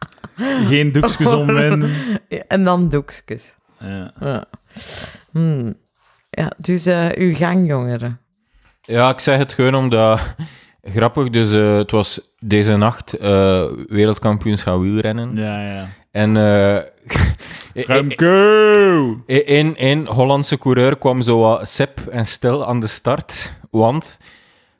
Speaker 1: Geen doekjes omwinden.
Speaker 3: Ja, En dan doekjes.
Speaker 1: Ja.
Speaker 3: Ja. Hmm. Ja, dus eh, uw gang, jongeren.
Speaker 2: Ja, ik zeg het gewoon omdat... Grappig, dus eh, het was deze nacht eh wereldkampioenschap wielrennen.
Speaker 1: Ja, ja.
Speaker 2: En eh
Speaker 1: Remco!
Speaker 2: in, in e- Hollandse coureur kwam zo wat sip en stil aan de start. Want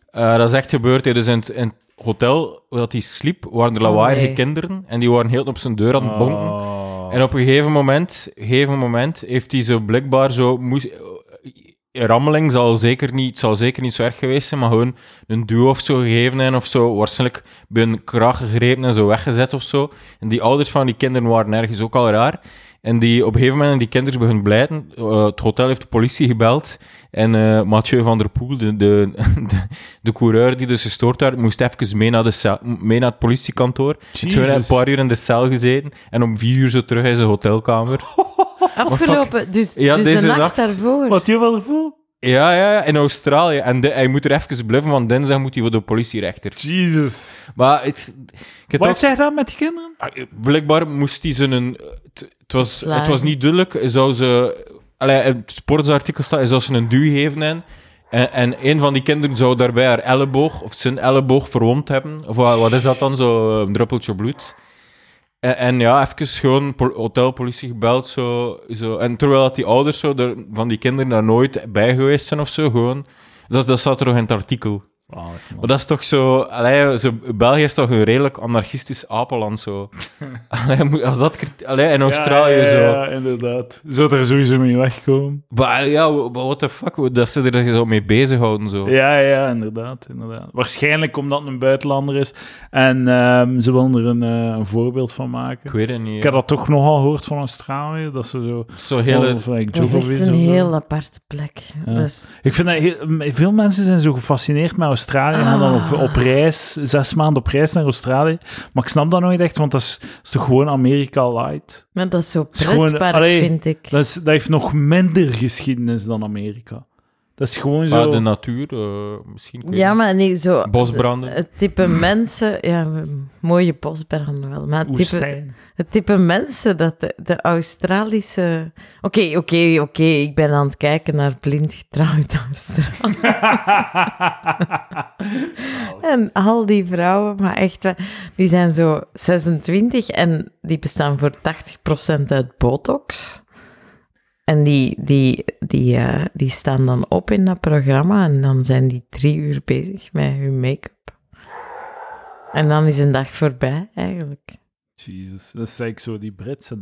Speaker 2: eh, dat is echt gebeurd. hè. Dus in het, in het hotel waar dat hij sliep, waren er
Speaker 3: Oh,
Speaker 2: lawaaiige
Speaker 3: nee.
Speaker 2: kinderen. En die waren heel op zijn deur aan het bonken.
Speaker 1: Oh.
Speaker 2: En op een gegeven moment, gegeven moment heeft hij zo blijkbaar zo... Moest, rammeling zal zeker, niet, zal zeker niet zo erg geweest zijn, maar gewoon een duw of zo gegeven en of zo. Waarschijnlijk bij een kraag gegrepen en zo weggezet of zo. En die ouders van die kinderen waren ergens ook al raar. En die, op een gegeven moment, die kinderen begonnen blijten. Eh, het hotel heeft de politie gebeld. En eh, Mathieu van der Poel, de, de, de, de coureur die dus gestoord werd, moest even mee naar, de cel- mee naar het politiekantoor. Het
Speaker 1: Jezus.
Speaker 2: heeft een paar uur in de cel gezeten. En om vier uur zo terug in zijn hotelkamer.
Speaker 3: Afgelopen, dus,
Speaker 2: Ja,
Speaker 3: dus
Speaker 2: deze
Speaker 3: de nacht,
Speaker 2: nacht.
Speaker 3: daarvoor.
Speaker 1: Wat je wel voelt?
Speaker 2: Ja, ja, ja, in Australië. En de- hij moet er even bluffen, want dinsdag moet hij voor de politierechter.
Speaker 1: Jesus.
Speaker 2: Maar het, ik
Speaker 1: Wat
Speaker 2: heb toch- Ah,
Speaker 1: heeft hij gedaan met die kinderen?
Speaker 2: Blijkbaar moest hij zijn... een- Het, het was,
Speaker 3: Slaan.
Speaker 2: het was niet duidelijk. Zou ze... Allee, in het sportsartikel staat, hij zou ze een duw geven en... En, en een van die kinderen zou daarbij haar elleboog, of zijn elleboog, verwond hebben. Of wat, wat is dat dan, zo eh, een druppeltje bloed? En, en ja, even gewoon pol- hotelpolitie gebeld, zo, zo. En terwijl dat die ouders zo er, van die kinderen daar nooit bij geweest zijn of zo, gewoon... Dat, dat staat er nog in het artikel. Maar dat is toch zo... Allee, zo België is toch een redelijk anarchistisch apenland, zo. allee, moet- als dat... crit- Allee, in Australië
Speaker 1: ja, ja,
Speaker 2: zo.
Speaker 1: Ja, inderdaad. Zou er sowieso mee wegkomen?
Speaker 2: Maar ja, w- maar what the fuck, dat ze er zo mee bezighouden, zo.
Speaker 1: Ja, ja, inderdaad, inderdaad. Waarschijnlijk omdat het een buitenlander is. En ehm, ze willen er een, eh, een voorbeeld van maken.
Speaker 2: Ik weet het niet.
Speaker 1: Ik heb dat toch nogal gehoord van Australië, dat ze zo...
Speaker 2: Zo'n hele...
Speaker 1: Of, like,
Speaker 3: Dat is
Speaker 1: Djokovic
Speaker 3: echt
Speaker 1: of
Speaker 3: een
Speaker 1: zo.
Speaker 3: heel aparte plek. Dat is-
Speaker 1: Ik vind dat heel- m- veel mensen zijn zo gefascineerd met Australië en gaan dan op,
Speaker 3: Ah.
Speaker 1: op reis, zes maanden op reis naar Australië. Maar ik snap dat nooit echt, want dat is, dat is toch gewoon Amerika light.
Speaker 3: maar dat is zo
Speaker 1: is gewoon-
Speaker 3: pretpark,
Speaker 1: allee,
Speaker 3: vind ik.
Speaker 1: Dat, is, dat heeft nog minder geschiedenis dan Amerika. Dat is gewoon
Speaker 2: Maar
Speaker 1: zo...
Speaker 2: de natuur, eh, misschien... ik weet
Speaker 3: Ja,
Speaker 2: niet.
Speaker 3: maar niet zo...
Speaker 2: Bosbranden.
Speaker 3: Het type mensen... Ja, mooie bosbranden wel. Maar het type,
Speaker 1: Oestijn.
Speaker 3: het type mensen dat de, de Australische... Oké, oké, oké. ik ben aan het kijken naar blind getrouwd Australië. en al die vrouwen, maar echt... wel, Die zijn zo 26 en die bestaan voor 80% uit botox. En die, die, die, eh, die staan dan op in dat programma en dan zijn die drie uur bezig met hun make-up. En dan is een dag voorbij, eigenlijk.
Speaker 1: Jezus, dat is eigenlijk zo die Britse...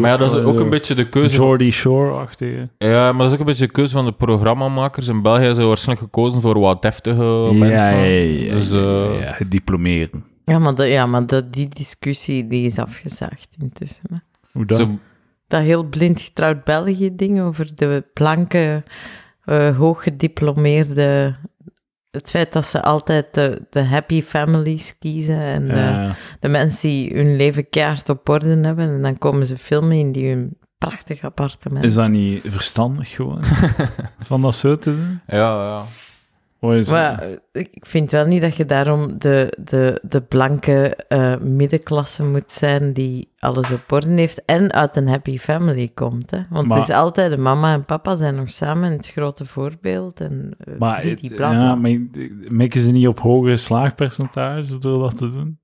Speaker 2: Maar ja, dat is
Speaker 1: Eh,
Speaker 2: ook een beetje de keuze...
Speaker 1: Jordy Shore-achtige.
Speaker 2: Ja, maar dat is ook een beetje de keuze van de programmamakers. In België zijn ze waarschijnlijk gekozen voor wat deftige
Speaker 1: eh,
Speaker 2: mensen. Dus, eh,
Speaker 1: ja, diplomeren.
Speaker 3: Ja, maar, dat- ja, maar dat, die discussie die is afgezaagd intussen. hè.
Speaker 1: Hoe dan?
Speaker 2: Ze,
Speaker 3: Dat heel blind getrouwd België ding over de blanke, eh, hooggediplomeerde... Het feit dat ze altijd de, de happy families kiezen en eh,
Speaker 1: Ja.
Speaker 3: de mensen die hun leven keihard op orde hebben. En dan komen ze filmen in die hun prachtig appartement.
Speaker 1: Is dat niet verstandig gewoon? van dat zo te doen?
Speaker 2: ja, ja.
Speaker 1: Of is-
Speaker 3: Maar eh, ik ik vind wel niet dat je daarom de, de, de blanke eh, middenklasse moet zijn die alles op orde heeft en uit een happy family komt. Hè? Want
Speaker 1: Maar-
Speaker 3: het is altijd, de mama en papa zijn nog samen het grote voorbeeld. En, eh,
Speaker 1: maar, eh,
Speaker 3: die, die, bla,
Speaker 1: ja,
Speaker 3: bla.
Speaker 1: maar mikken ze niet op hoger slaagpercentage door dat te doen?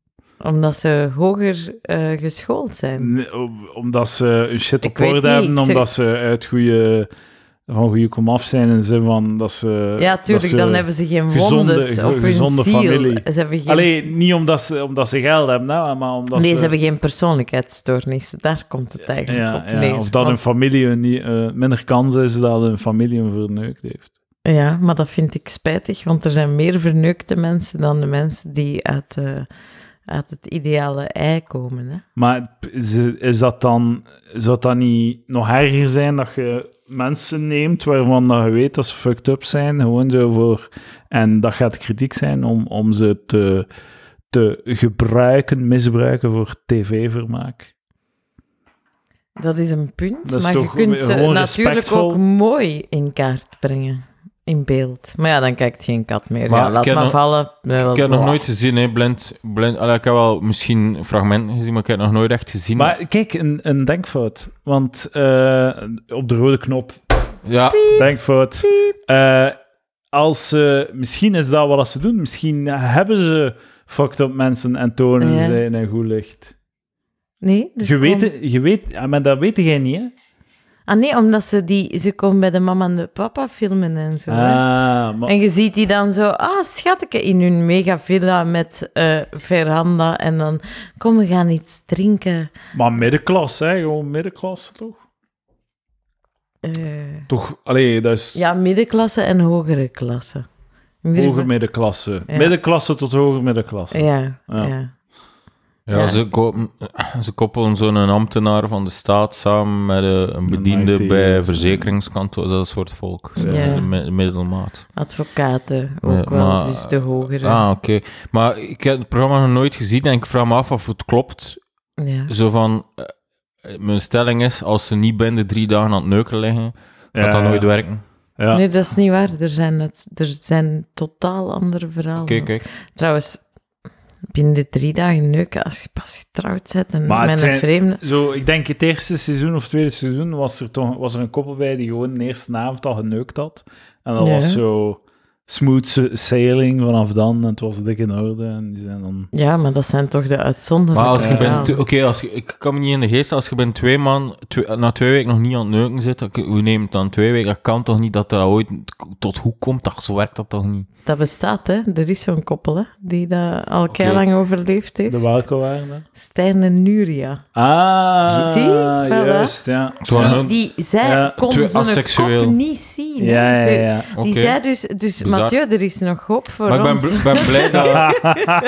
Speaker 3: Omdat ze hoger eh, geschoold zijn.
Speaker 1: Nee, om- omdat ze een shit op
Speaker 3: Ik weet
Speaker 1: orde
Speaker 3: niet,
Speaker 1: hebben,
Speaker 3: ik zeg-
Speaker 1: omdat ze uit goede, van goede komaf zijn in de zin van dat ze...
Speaker 3: ja,
Speaker 1: dat
Speaker 3: tuurlijk,
Speaker 1: ze-
Speaker 3: dan hebben ze geen
Speaker 1: gezonde-
Speaker 3: wondes
Speaker 1: ge-
Speaker 3: op hun
Speaker 1: gezonde
Speaker 3: ziel.
Speaker 1: familie.
Speaker 3: Ze hebben geen,
Speaker 1: Allee, niet omdat ze, omdat ze geld hebben, hè, maar omdat
Speaker 3: nee,
Speaker 1: ze...
Speaker 3: ze hebben geen persoonlijkheidsstoornis. Daar komt het eigenlijk
Speaker 1: ja,
Speaker 3: op
Speaker 1: ja,
Speaker 3: neer.
Speaker 1: of dat hun
Speaker 3: Want-
Speaker 1: familie hun niet, eh, minder kans is dat hun familie hun verneukt heeft.
Speaker 3: Ja, maar dat vind ik spijtig, want er zijn meer verneukte mensen dan de mensen die uit, eh, uit het ideale ei komen. Hè?
Speaker 1: Maar p- ze- is dat dan, zou dat niet nog erger zijn dat je mensen neemt waarvan dat je weet dat ze fucked up zijn, gewoon zo voor, en dat gaat kritiek zijn om, om ze te, te gebruiken, misbruiken voor tv-vermaak?
Speaker 3: Dat is een punt,
Speaker 1: Dat is
Speaker 3: maar
Speaker 1: toch
Speaker 3: je kunt ze
Speaker 1: gewoon
Speaker 3: natuurlijk
Speaker 1: respectvol?
Speaker 3: ook mooi in kaart brengen, in beeld. Maar ja, dan kijkt geen kat meer.
Speaker 2: Maar
Speaker 3: ja, laat
Speaker 2: ik heb
Speaker 3: maar
Speaker 2: nog-
Speaker 3: vallen.
Speaker 2: Ik heb nog nooit gezien, hè. Blind, blind, allee, ik heb wel misschien fragmenten gezien, maar ik heb het nog nooit echt gezien.
Speaker 1: Maar kijk, een, een denkfout. Want eh, op de rode knop
Speaker 2: ja,
Speaker 1: Denkfout. Eh, als ze, misschien is dat wat ze doen. Misschien hebben ze fucked up mensen en tonen
Speaker 3: Ja.
Speaker 1: ze in een goed licht.
Speaker 3: Nee, dus
Speaker 1: je,
Speaker 3: kom-
Speaker 1: weet, je weet, ja, maar dat weet jij niet, hè?
Speaker 3: Ah nee, omdat ze die... Ze komen bij de mama en de papa filmen en zo. hè.
Speaker 1: Ah, maar,
Speaker 3: En je ziet die dan zo, ah, schatteke, in hun mega villa met eh, veranda. En dan, kom, we gaan iets drinken.
Speaker 1: maar middenklas, hè? Gewoon middenklasse, toch?
Speaker 3: Eh,
Speaker 1: Toch, allee, dat is
Speaker 3: ja, middenklasse en hogere klasse. Midden-
Speaker 1: hoger middenklasse.
Speaker 3: Ja.
Speaker 1: Middenklasse tot hoger middenklasse.
Speaker 3: Ja,
Speaker 1: Ja.
Speaker 3: ja.
Speaker 2: ja,
Speaker 3: Ja.
Speaker 2: Ze, ko- ze koppelen zo'n ambtenaar van de staat samen met eh, een bediende
Speaker 1: IT.
Speaker 2: bij verzekeringskantoor, dat soort volk. Zo,
Speaker 3: Ja.
Speaker 2: de mi- middelmaat.
Speaker 3: Advocaten ook
Speaker 2: Ja,
Speaker 3: wel,
Speaker 2: maar-
Speaker 3: dus de hogere.
Speaker 2: Ah, oké. Maar ik heb het programma nog nooit gezien en ik vraag me af of het klopt.
Speaker 3: Ja.
Speaker 2: Zo van, eh, mijn stelling is, als ze niet binnen de drie dagen aan het neuken liggen, gaat dat nooit werken.
Speaker 1: Ja.
Speaker 3: Nee, dat is niet waar. Er zijn, het, er zijn totaal andere verhalen.
Speaker 2: Kijk, kijk.
Speaker 3: Trouwens, binnen de drie dagen neuken, als je pas getrouwd bent en
Speaker 1: Maar het
Speaker 3: met een
Speaker 1: zijn-
Speaker 3: vreemde...
Speaker 1: Zo, ik denk het eerste seizoen of het tweede seizoen was er, toch, was er een koppel bij die gewoon de eerste avond al geneukt had. En dat
Speaker 3: Ja.
Speaker 1: was zo smooth sa- sailing vanaf dan. En het was dik in orde. En die zijn dan...
Speaker 3: Ja, maar dat zijn toch de uitzonderlijke
Speaker 2: Maar als je
Speaker 1: Ja.
Speaker 2: bent...
Speaker 3: verhalen.
Speaker 2: Oké, als je- ik kan me niet in de geest... Als je bent twee man... twee- na twee weken nog niet aan het neuken zit... dan- Hoe neem het dan twee weken? Dat kan toch niet dat dat ooit tot hoe komt? Dat, zo werkt dat toch niet?
Speaker 3: Dat bestaat, hè. Er is zo'n koppel, hè, die dat al keilang overleefd heeft.
Speaker 1: De welke waren dat?
Speaker 3: Stijn en Nuria.
Speaker 1: Ah,
Speaker 3: Zie, voilà.
Speaker 1: juist, ja.
Speaker 2: Zo aan hun-
Speaker 3: Die, die, zij
Speaker 1: Ja,
Speaker 3: kon
Speaker 2: twee
Speaker 3: zo'n
Speaker 2: asexueel.
Speaker 3: kop niet zien. hè.
Speaker 1: Ja, ja,
Speaker 3: Ze-
Speaker 1: ja.
Speaker 2: Oké.
Speaker 3: Die zei dus... Dus
Speaker 2: Bizar.
Speaker 3: Mathieu, er is nog hoop voor
Speaker 2: Maar ik ben,
Speaker 3: ons.
Speaker 2: bl- ben blij dat... ja,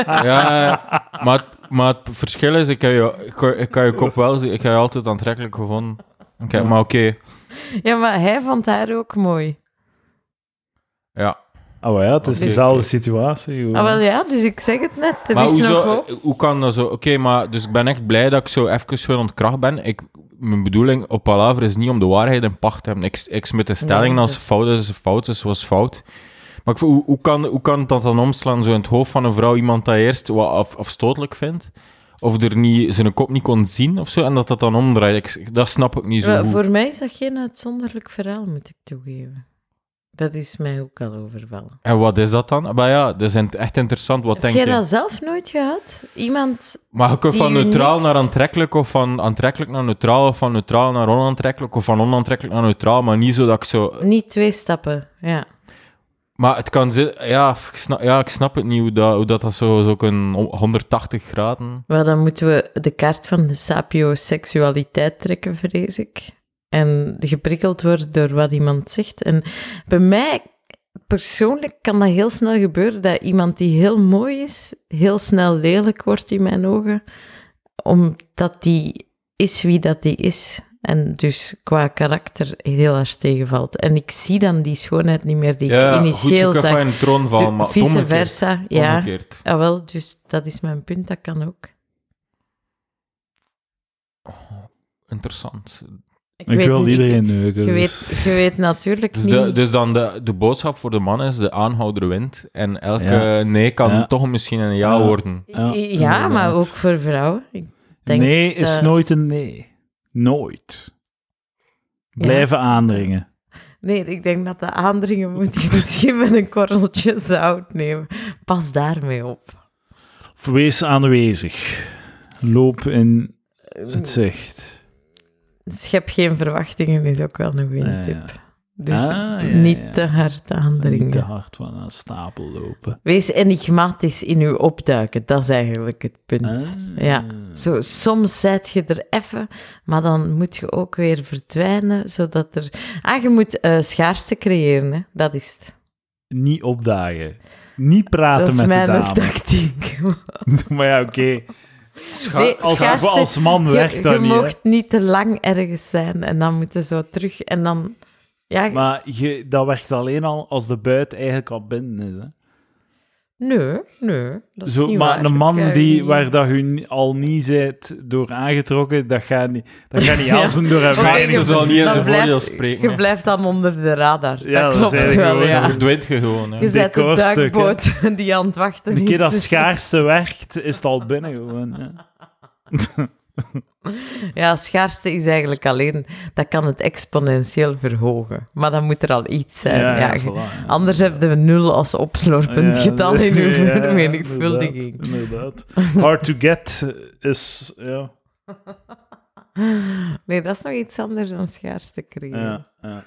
Speaker 2: ja. maar, het- maar het verschil is... Ik heb je, ik, ik kan je kop wel zien. Ik heb je altijd aantrekkelijk gevonden. Oké, maar oké.
Speaker 3: Ja, maar hij vond haar ook mooi.
Speaker 2: ja.
Speaker 1: Oh ja, het is
Speaker 2: Oké,
Speaker 1: dezelfde
Speaker 2: oké.
Speaker 1: situatie. gewoon.
Speaker 3: Ah, wel ja, dus ik zeg het net. Er
Speaker 2: maar
Speaker 3: is nog
Speaker 2: hoezo, eh,
Speaker 3: hoop.
Speaker 2: hoe kan dat zo? Oké, maar dus ik ben echt blij dat ik zo even weer ontkracht ben. Ik, mijn bedoeling op Palaver is niet om de waarheid in pacht te hebben. Ik, ik smit de stelling
Speaker 3: Nee,
Speaker 2: als
Speaker 3: dus- dat is-
Speaker 2: fout is, fout is, was fout. Maar ik, voel- hoe, hoe, kan, hoe kan dat dan omslaan, zo in het hoofd van een vrouw, iemand dat eerst wat af, afstotelijk vindt? Of er niet, zijn kop niet kon zien of zo, en dat dat dan omdraait. Ik, dat snap ik niet zo
Speaker 3: Maar
Speaker 2: goed.
Speaker 3: voor mij is dat geen uitzonderlijk verhaal, moet ik toegeven. Dat is mij ook al overvallen.
Speaker 2: En wat is dat dan? Maar ja, dat is in- echt interessant. Wat
Speaker 3: Heb
Speaker 2: denk
Speaker 3: jij
Speaker 2: je?
Speaker 3: dat zelf nooit gehad? Iemand...
Speaker 2: Maar je kunt
Speaker 3: die
Speaker 2: van
Speaker 3: u
Speaker 2: neutraal
Speaker 3: niks-
Speaker 2: naar aantrekkelijk, of van aantrekkelijk naar neutraal, of van neutraal naar onaantrekkelijk, of van onaantrekkelijk naar neutraal, maar niet zo dat ik zo...
Speaker 3: Niet twee stappen, ja.
Speaker 2: Maar het kan zin... Ja, ik snap, ja, ik snap het niet, hoe dat, hoe dat, dat zo, zo kan... om- 180 graden...
Speaker 3: Wel, dan moeten we de kaart van de sapioseksualiteit trekken, vrees ik. En geprikkeld worden door wat iemand zegt. En bij mij persoonlijk kan dat heel snel gebeuren dat iemand die heel mooi is, heel snel lelijk wordt in mijn ogen, omdat die is wie dat die is. En dus qua karakter heel hard tegenvalt. En ik zie dan die schoonheid niet meer die ik initieel
Speaker 2: goed, je kan
Speaker 3: zag.
Speaker 2: van een troon vallen,
Speaker 3: Du-
Speaker 2: maar het
Speaker 3: vice
Speaker 2: omgekeerd.
Speaker 3: versa, ja.
Speaker 2: Omgekeerd.
Speaker 3: Ah, wel, dus dat is mijn punt, dat kan ook.
Speaker 2: Interessant.
Speaker 3: Ik,
Speaker 1: Ik
Speaker 3: weet
Speaker 1: wil
Speaker 3: niet-
Speaker 1: iedereen neuken.
Speaker 3: Je
Speaker 1: dus.
Speaker 3: weet, je weet natuurlijk
Speaker 2: Dus,
Speaker 3: niet.
Speaker 2: de, dus dan de, de boodschap voor de man is, de aanhouder wint. En elke
Speaker 1: Ja.
Speaker 2: nee kan
Speaker 1: Ja.
Speaker 2: toch misschien een ja,
Speaker 1: Ja.
Speaker 2: worden.
Speaker 1: Ja,
Speaker 3: ja,
Speaker 1: inderdaad.
Speaker 3: maar ook voor vrouwen. Ik denk
Speaker 1: nee is
Speaker 3: dat-
Speaker 1: nooit een nee. Nooit. Blijven aandringen.
Speaker 3: Nee, ik denk dat de aandringen moet je misschien met een korreltje zout nemen. Pas daarmee op.
Speaker 1: Wees aanwezig. Loop in het zicht.
Speaker 3: Schep Dus geen verwachtingen is ook wel een
Speaker 1: Ah, Ja, ja.
Speaker 3: wintip. Dus
Speaker 1: Ah, ja, ja,
Speaker 3: niet
Speaker 1: ja.
Speaker 3: te hard
Speaker 1: Niet te
Speaker 3: aandringen.
Speaker 1: hard van een stapel lopen.
Speaker 3: Wees enigmatisch in uw opduiken, dat is eigenlijk het punt.
Speaker 1: Ah.
Speaker 3: Ja. Zo, soms zet je er even, maar dan moet je ook weer verdwijnen, zodat er... Ah, je moet eh, schaarste creëren, hè. dat is het.
Speaker 1: Niet opdagen. Niet praten
Speaker 3: dat is
Speaker 1: met
Speaker 3: mijn
Speaker 1: de dame.
Speaker 3: tactiek.
Speaker 1: maar ja, oké.
Speaker 2: Scha-
Speaker 3: Nee,
Speaker 1: Als,
Speaker 2: scha-
Speaker 3: schaarste-
Speaker 1: als man
Speaker 3: Je,
Speaker 1: werkt dat
Speaker 3: je
Speaker 1: niet. hè.
Speaker 3: mocht niet te lang ergens zijn en dan moeten zo terug en dan... Ja,
Speaker 1: Maar je, dat werkt alleen al als de buit eigenlijk al binnen is. Hè?
Speaker 3: nee, nee, dat is
Speaker 1: Zo,
Speaker 3: niet
Speaker 1: maar
Speaker 3: waar.
Speaker 1: een
Speaker 3: Ik
Speaker 1: man
Speaker 3: heb
Speaker 1: die,
Speaker 3: niet-
Speaker 1: waar dat u ni- al niet zit door aangetrokken, dat gaat niet, dat gaat niet
Speaker 3: Ja.
Speaker 1: als hem door haar
Speaker 2: Schaarste
Speaker 1: veiling
Speaker 2: is
Speaker 1: te
Speaker 2: al niet
Speaker 1: zien.
Speaker 2: eens
Speaker 3: Dan
Speaker 2: een
Speaker 3: blijft-
Speaker 2: voordeel spreken,
Speaker 3: Je
Speaker 2: hè.
Speaker 3: blijft dan onder de radar.
Speaker 1: Ja,
Speaker 3: dat
Speaker 1: dat
Speaker 3: klopt
Speaker 1: zei ik
Speaker 3: wel,
Speaker 1: gewoon,
Speaker 2: Dan
Speaker 3: ja.
Speaker 2: verdwijnt je gewoon. Hè.
Speaker 3: Je zet de
Speaker 1: decorstuk, hè.
Speaker 3: duikboot die aan het wachten
Speaker 1: De
Speaker 3: is.
Speaker 1: keer dat schaarste werkt, is het al binnen gewoon. Ja.
Speaker 3: Ja, schaarste is eigenlijk alleen... Dat kan het exponentieel verhogen. Maar dan moet er al iets zijn. eh, Ja,
Speaker 1: ja,
Speaker 3: je-
Speaker 1: voilà, ja.
Speaker 3: Anders heb je nul als opsloorpunt
Speaker 1: Ja,
Speaker 3: getal in uw
Speaker 1: ja,
Speaker 3: vermenigvuldiging.
Speaker 1: Inderdaad, inderdaad. Hard to get is... Ja,
Speaker 3: Nee, dat is nog iets anders dan schaarste creëren.
Speaker 1: ja, ja.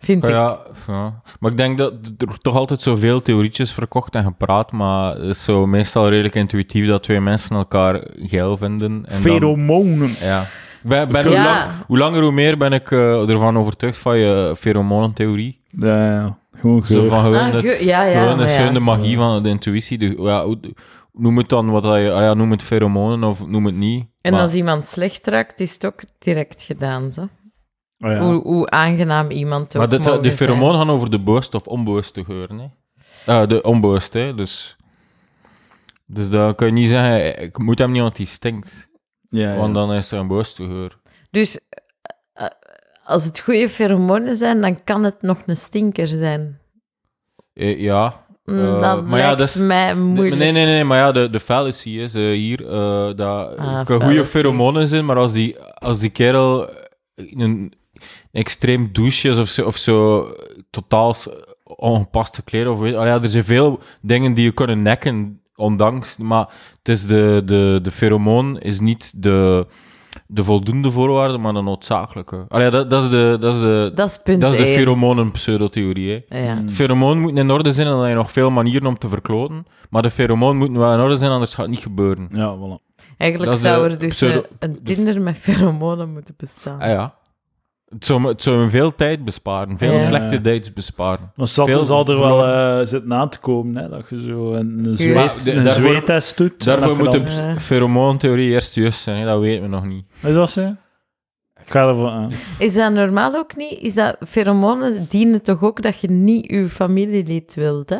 Speaker 3: Vind
Speaker 2: Oh Ja,
Speaker 3: ik.
Speaker 2: ja, ja. maar ik denk dat er toch altijd zoveel theorietjes verkocht en gepraat, maar het is zo meestal redelijk intuïtief dat twee mensen elkaar geil vinden. En dan,
Speaker 1: Pheromonen.
Speaker 2: ja. Ik Ben, ben hoe,
Speaker 3: Ja.
Speaker 2: lang- hoe langer hoe meer ben ik eh, ervan overtuigd van je feromonentheorie.
Speaker 1: Ja, ja. Gewoon
Speaker 2: Zo
Speaker 1: geur.
Speaker 2: van gewoon,
Speaker 3: Ah,
Speaker 2: het,
Speaker 3: ge- ja, ja,
Speaker 2: gewoon
Speaker 3: maar
Speaker 2: het
Speaker 3: ja.
Speaker 2: zijn de magie van de intuïtie. De, ja, hoe- noem het dan wat dat je, ah ja, noem het feromonen of noem het niet.
Speaker 3: En
Speaker 2: maar-
Speaker 3: als iemand slecht ruikt, is het ook direct gedaan. Zo.
Speaker 1: Oh, ja.
Speaker 3: Hoe, hoe aangenaam iemand ook
Speaker 2: maar dit,
Speaker 3: mogen
Speaker 2: de
Speaker 3: zijn.
Speaker 2: feromonen gaan over de bewuste of onbewuste geuren. Hè? Eh, de onbewuste, hè? dus... Dus dan kun je niet zeggen, ik moet hem niet, want die stinkt.
Speaker 1: Ja, Ah, ja.
Speaker 2: Want dan is er een bewuste geur.
Speaker 3: Dus eh, als het goede feromonen zijn, dan kan het nog een stinker zijn.
Speaker 2: Eh, ja.
Speaker 3: Mm,
Speaker 2: Eh,
Speaker 3: dat
Speaker 2: maar ja,
Speaker 3: lijkt
Speaker 2: dat is-
Speaker 3: mij
Speaker 2: Nee,
Speaker 3: moeilijk.
Speaker 2: nee, nee, nee, maar ja, de, de fallacy is eh, hier, eh dat
Speaker 3: Ah,
Speaker 2: kan goede
Speaker 3: fallacy.
Speaker 2: feromonen zijn, maar als die, als die kerel in een extreem douche is of zo, of zo totaal s- ongepaste kleren, of weet, allee, ja, er zijn veel dingen die je kunnen nekken, ondanks, maar het is de, de, de feromoon is niet de, de voldoende voorwaarde, maar de noodzakelijke. Allee, dat, dat is de, dat is de,
Speaker 3: Dat is punt
Speaker 2: dat is de Mm.
Speaker 3: één.
Speaker 2: feromonen-pseudotheorie, hè.
Speaker 3: Ja.
Speaker 2: Het Feromoon moet in orde zijn en dan heb je nog veel manieren om te verkloten. Maar de feromoon moet wel in orde zijn, anders gaat het niet gebeuren.
Speaker 1: Ja, voilà.
Speaker 3: Eigenlijk
Speaker 2: Dat is
Speaker 3: zou
Speaker 2: de
Speaker 3: er dus
Speaker 2: pseudo-
Speaker 3: eh, een
Speaker 2: de-
Speaker 3: Tinder met feromonen moeten bestaan.
Speaker 2: Ah ja. Het zou, me- het zou me veel tijd besparen. Veel
Speaker 3: Ja.
Speaker 2: slechte dates besparen.
Speaker 1: Maar Satten
Speaker 2: Veel
Speaker 1: zal er wel
Speaker 2: verloren.
Speaker 1: eh, zitten aan te komen, hè, dat je zo een, een,
Speaker 3: weet-
Speaker 1: zweet,
Speaker 2: Maar
Speaker 1: een
Speaker 2: daarvoor-
Speaker 1: zweettest doet.
Speaker 2: Daarvoor
Speaker 1: en dat
Speaker 2: moet
Speaker 1: je
Speaker 2: de
Speaker 1: dan-
Speaker 3: dan- eh,
Speaker 2: ps- feromoontheorie eerst juist zijn. hè. Dat weten we nog niet.
Speaker 1: Is dat zo? Ik ga ervan aan.
Speaker 3: Is dat normaal ook niet? Is dat feromonen dienen toch ook dat je niet uw familielid wilt, hè?